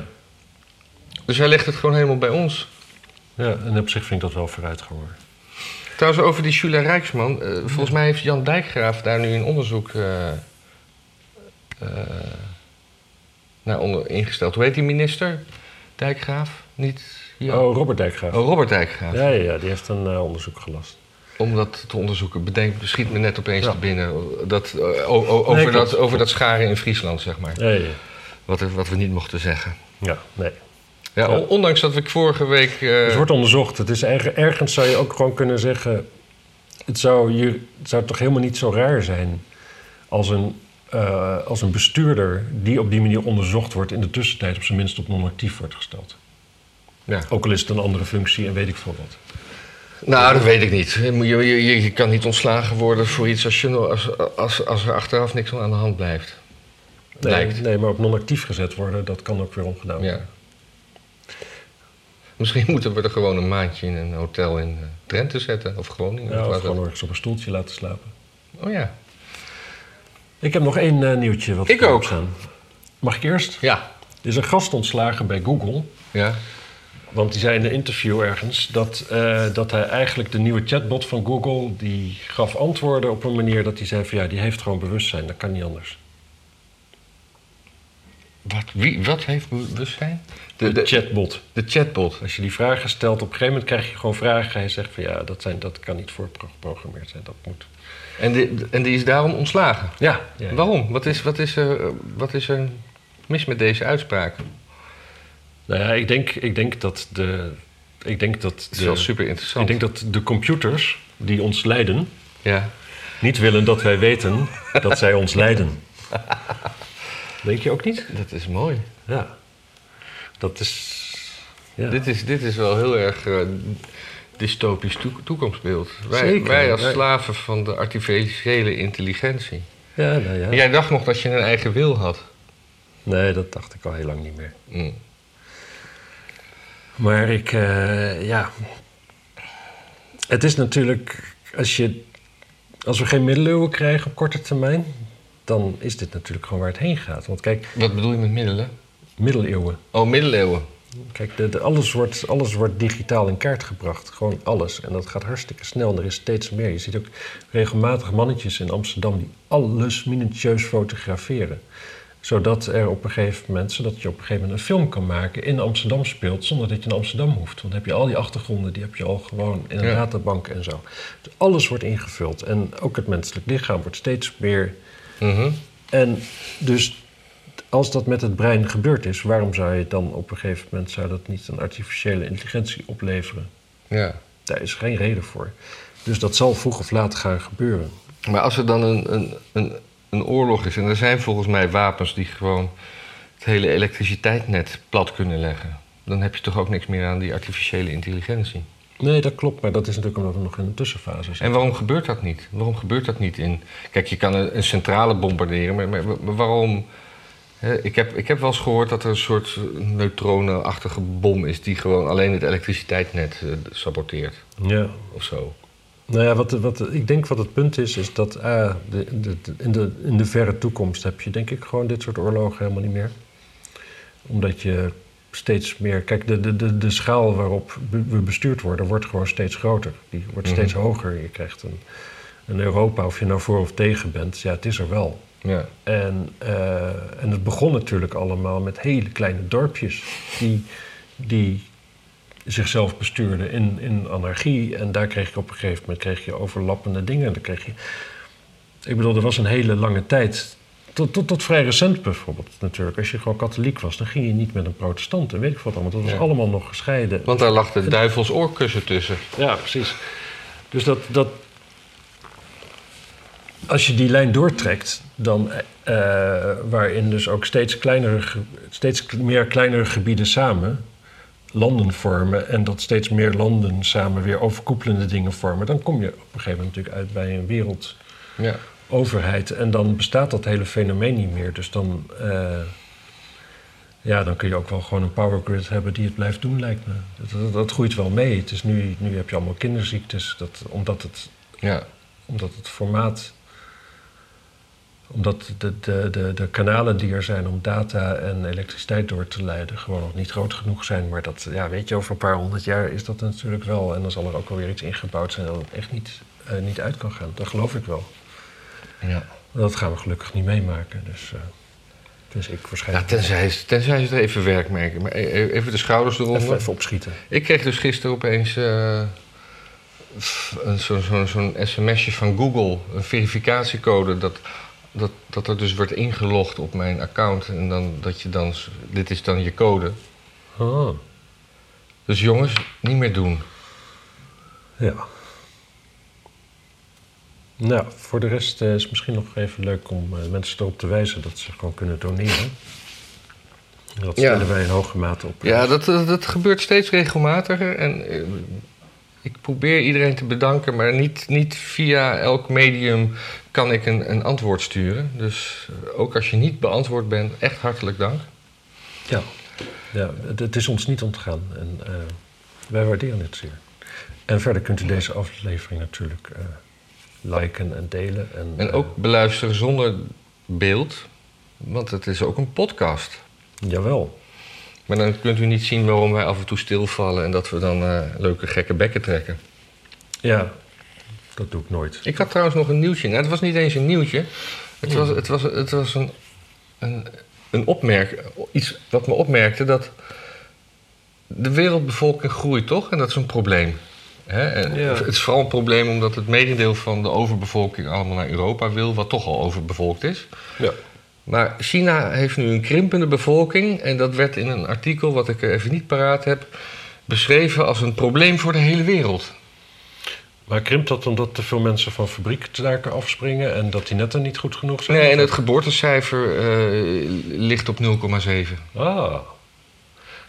Dus hij legt het gewoon helemaal bij ons.
Ja, en op zich vind ik dat wel vooruitgang hoor.
Trouwens, over die Julia Rijksman. eh, volgens mij heeft Jan Dijkgraaf daar nu een onderzoek eh, eh, nou, onder, ingesteld. Hoe heet die minister? Dijkgraaf? Niet? Ja.
Oh, Robert Dijkgraaf.
Oh, Robert Dijkgraaf.
Ja, ja, ja, die heeft een eh, onderzoek gelast.
Om dat te onderzoeken, bedenk, schiet me net opeens
Ja.
te binnen. Dat, eh, o- o- over,
klopt.
dat, over dat scharen in Friesland, zeg maar.
Ja, ja, ja.
Wat, wat we niet mochten zeggen.
Ja, nee.
Ja,
Ja.
Ondanks dat ik vorige week. eh,
Het wordt onderzocht. Het is erg- ergens zou je ook gewoon kunnen zeggen... Het zou, je, het zou toch helemaal niet zo raar zijn... Als een, eh, als een bestuurder die op die manier onderzocht wordt... in de tussentijd op zijn minst op non-actief wordt gesteld.
ja.
Ook al is het een andere functie en weet ik veel wat.
Nou, dat weet ik niet. Je, moet- je, je, je kan niet ontslagen worden voor iets als, je, no- als, als, als er achteraf niks aan de hand blijft.
Nee,
Lijkt.
nee maar op non-actief gezet worden, dat kan ook weer omgedaan worden.
Ja. Misschien moeten we er gewoon een maandje in een hotel in eh, Drenthe zetten. Of Groningen.
Ja,
of
of
waar
gewoon
dat-
ergens op een stoeltje laten slapen.
Oh ja.
Ik heb nog één eh, nieuwtje. Wat
Ik
erop
ook.
staan. Mag ik eerst?
Ja.
Er is een gast ontslagen bij Google.
Ja.
Want die zei in een interview ergens dat, eh, dat hij eigenlijk de nieuwe chatbot van Google... die gaf antwoorden op een manier dat hij zei van... ja, die heeft gewoon bewustzijn, dat kan niet anders.
Wat, wie, wat heeft bewustzijn?
De, chatbot.
de chatbot.
Als je die vragen stelt, op een gegeven moment krijg je gewoon vragen. Hij zegt van ja, dat, zijn, dat kan niet voorgeprogrammeerd zijn, dat moet...
En, die- en die is daarom ontslagen.
Ja, ja.
Waarom? Wat is, wat, is er, wat is er mis met deze uitspraak? Het
Nou ja, ik denk, ik denk dat de... Ik denk dat
is
de,
wel super
ik
interessant.
denk dat de computers die ons leiden...
Ja.
niet willen dat wij weten dat zij ons leiden. Denk je ook niet?
Dat is mooi.
Ja. Dat is... Ja.
Dit, is, dit is wel heel erg eh, dystopisch toe- toekomstbeeld. Wij,
Zeker.
wij als
Wij-
slaven van de artificiële intelligentie.
ja, nou ja.
Jij dacht nog dat je een eigen wil had.
Nee, dat dacht ik al heel lang niet meer.
Mm.
Maar ik, eh, ja. Het is natuurlijk, als, je, als we geen middeleeuwen krijgen op korte termijn, dan is dit natuurlijk gewoon waar het heen gaat. Want kijk,
Wat bedoel je met middelen?
middeleeuwen.
Oh, middeleeuwen.
Kijk, de, de- alles, wordt, alles wordt digitaal in kaart gebracht. Gewoon alles. En dat gaat hartstikke snel. En er is steeds meer. Je ziet ook regelmatig mannetjes in Amsterdam die alles minutieus fotograferen. Zodat er op een gegeven moment, zodat je op een gegeven moment een film kan maken in Amsterdam speelt, zonder dat je naar Amsterdam hoeft. Want dan heb je al die achtergronden, die heb je al gewoon in een
Ja.
databank en zo. Dus alles wordt ingevuld. En ook het menselijk lichaam wordt steeds meer
Mhm.
en dus als dat met het brein gebeurd is, waarom zou je dan op een gegeven moment zou dat niet een artificiële intelligentie opleveren?
Ja.
Daar is geen reden voor. Dus dat zal vroeg of laat gaan gebeuren.
Maar als er dan een, een, een, een oorlog is, en er zijn volgens mij wapens die gewoon het hele elektriciteitsnet plat kunnen leggen, dan heb je toch ook niks meer aan die artificiële intelligentie.
Nee, dat klopt, maar dat is natuurlijk omdat we nog in een tussenfase zijn.
En waarom gebeurt dat niet? Waarom gebeurt dat niet in. Kijk, je kan een, een centrale bombarderen, maar, maar, maar waarom. hè, ik, heb, ik heb wel eens gehoord dat er een soort neutronenachtige bom is die gewoon alleen het elektriciteitsnet eh, saboteert
Ja.
of zo.
Nou ja, wat, wat, ik denk wat het punt is, is dat A, de, de, de- in, de, in de verre toekomst heb je denk ik gewoon dit soort oorlogen helemaal niet meer. Omdat je steeds meer... Kijk, de, de, de, de schaal waarop be- we bestuurd worden, wordt gewoon steeds groter. Die wordt steeds hoger. Je krijgt een, een Europa, of je nou voor of tegen bent, ja, het is er wel.
Ja.
En, eh, en het begon natuurlijk allemaal met hele kleine dorpjes die, die zichzelf bestuurden in, in anarchie. En daar kreeg je op een gegeven moment kreeg je overlappende dingen. Dan kreeg je, ik bedoel, er was een hele lange tijd. Tot, tot, tot vrij recent bijvoorbeeld natuurlijk. Als je gewoon katholiek was, dan ging je niet met een protestant en weet ik wat allemaal. Dat was
Ja.
allemaal nog gescheiden.
Want daar lag de duivels oorkussen tussen.
Ja, precies. Dus dat, dat. Als je die lijn doortrekt, dan. eh, waarin dus ook steeds, kleinere, ge- steeds k- meer kleinere gebieden samen landen vormen. en dat steeds meer landen samen weer overkoepelende dingen vormen. dan kom je op een gegeven moment natuurlijk uit bij een wereldoverheid.
Ja.
En dan bestaat dat hele fenomeen niet meer. Dus dan. eh, ja, dan kun je ook wel gewoon een power grid hebben die het blijft doen, lijkt me. Dat, dat, dat groeit wel mee. Het is nu, nu heb je allemaal kinderziektes, dat, omdat, het,
ja.
omdat het formaat... Omdat de, de, de, de kanalen die er zijn om data en elektriciteit door te leiden... gewoon nog niet groot genoeg zijn. Maar dat, ja, weet je, over een paar honderd jaar is dat natuurlijk wel. En dan zal er ook alweer iets ingebouwd zijn dat het echt niet, eh, niet uit kan gaan. Dat geloof ik wel.
ja.
Dat gaan we gelukkig niet meemaken. Dus, eh, Tenzij ik
Ja,
waarschijnlijk
tenzij, ze- tenzij ze er even werk merken. Maar e- e- even de schouders eronder.
even, even opschieten.
Ik kreeg dus gisteren opeens eh, f- een zo'n zo'n zo'n sms'je van Google, een verificatiecode, dat, dat, dat er dus wordt ingelogd op mijn account. En dan, dat je dan, s- dit is dan je code.
Ah,
Dus jongens, niet meer doen.
ja. Nou, voor de rest eh, is het misschien nog even leuk om eh, mensen erop te wijzen dat ze gewoon kunnen doneren. Dat
Ja.
stellen wij in hoge mate op.
Ja, dat, dat, dat gebeurt steeds regelmatiger. En eh, ik probeer iedereen te bedanken, maar niet, niet via elk medium kan ik een, een antwoord sturen. Dus eh, ook als je niet beantwoord bent, echt hartelijk dank.
Ja, ja het, het is ons niet ontgaan en eh, wij waarderen het zeer. En verder kunt u deze aflevering natuurlijk eh, liken en delen. En,
En
eh,
ook beluisteren zonder beeld, want het is ook een podcast.
eh, jawel,
Maar dan kunt u niet zien waarom wij af en toe stilvallen en dat we dan eh, leuke gekke bekken trekken.
ja, dat doe ik nooit.
Ik had trouwens nog een nieuwtje. Nou, het was niet eens een nieuwtje. Het was, het was, het was een, een, een opmerk, iets wat me opmerkte dat de wereldbevolking groeit toch? En dat is een probleem. Hè? En
Ja.
Het is vooral een probleem omdat het merendeel van de overbevolking allemaal naar Europa wil, wat toch al overbevolkt is.
Ja.
Maar China heeft nu een krimpende bevolking en dat werd in een artikel wat ik even niet paraat heb beschreven als een probleem voor de hele wereld.
Maar krimpt dat omdat te veel mensen van fabriektaken afspringen en dat die netten niet goed genoeg zijn?
Nee, en het geboortecijfer eh, ligt op 0,7.
Ah,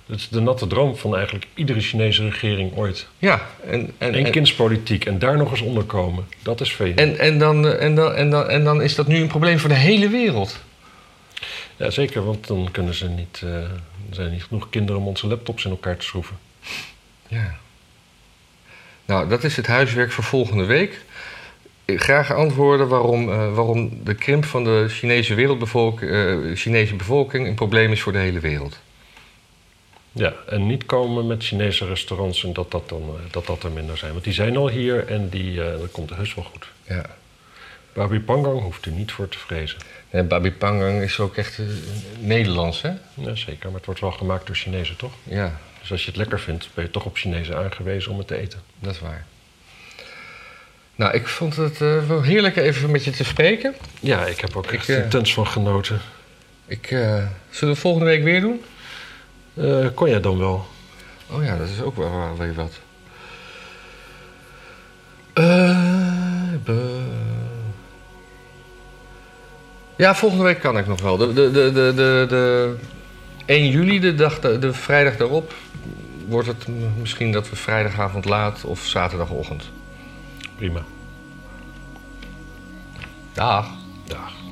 dat is de natte droom van eigenlijk iedere Chinese regering ooit.
Ja, en, en,
Eén
en,
kindspolitiek en daar nog eens onderkomen, dat is veel.
en, en, dan, eh, en, dan, en, dan, en dan is dat nu een probleem voor de hele wereld.
Ja, zeker, want dan kunnen ze niet, eh, er zijn niet genoeg kinderen om onze laptops in elkaar te schroeven.
Ja. Nou, dat is het huiswerk voor volgende week. Eh, Graag antwoorden waarom, eh, waarom de krimp van de Chinese, wereldbevolk, eh, Chinese bevolking een probleem is voor de hele wereld.
Ja, en niet komen met Chinese restaurants en dat dat, dan, eh, dat, dat er minder zijn. Want die zijn al hier en die, eh, dat komt heus wel goed.
Ja.
Babi Pangang hoeft u niet voor te vrezen.
En Babi Pangang is ook echt eh, Nederlands, hè?
Ja, zeker, maar het wordt wel gemaakt door Chinezen, toch?
Ja,
Dus als je het lekker vindt, ben je toch op Chinezen aangewezen om het te eten.
dat is waar. Nou, ik vond het eh, wel heerlijk even met je te spreken.
Ja, ik heb ook echt
Ik, eh,
intens van genoten.
Ik, eh, zullen we volgende week weer doen?
Eh, kon jij dan wel?
Oh ja, dat is ook wel, wel weer wat. Eh, be- Ja, volgende week kan ik nog wel. De, de, de, de, de, de 1 juli, de, dag, da- de vrijdag daarop, wordt het m- misschien dat we vrijdagavond laat of zaterdagochtend.
Prima.
Dag.
Dag.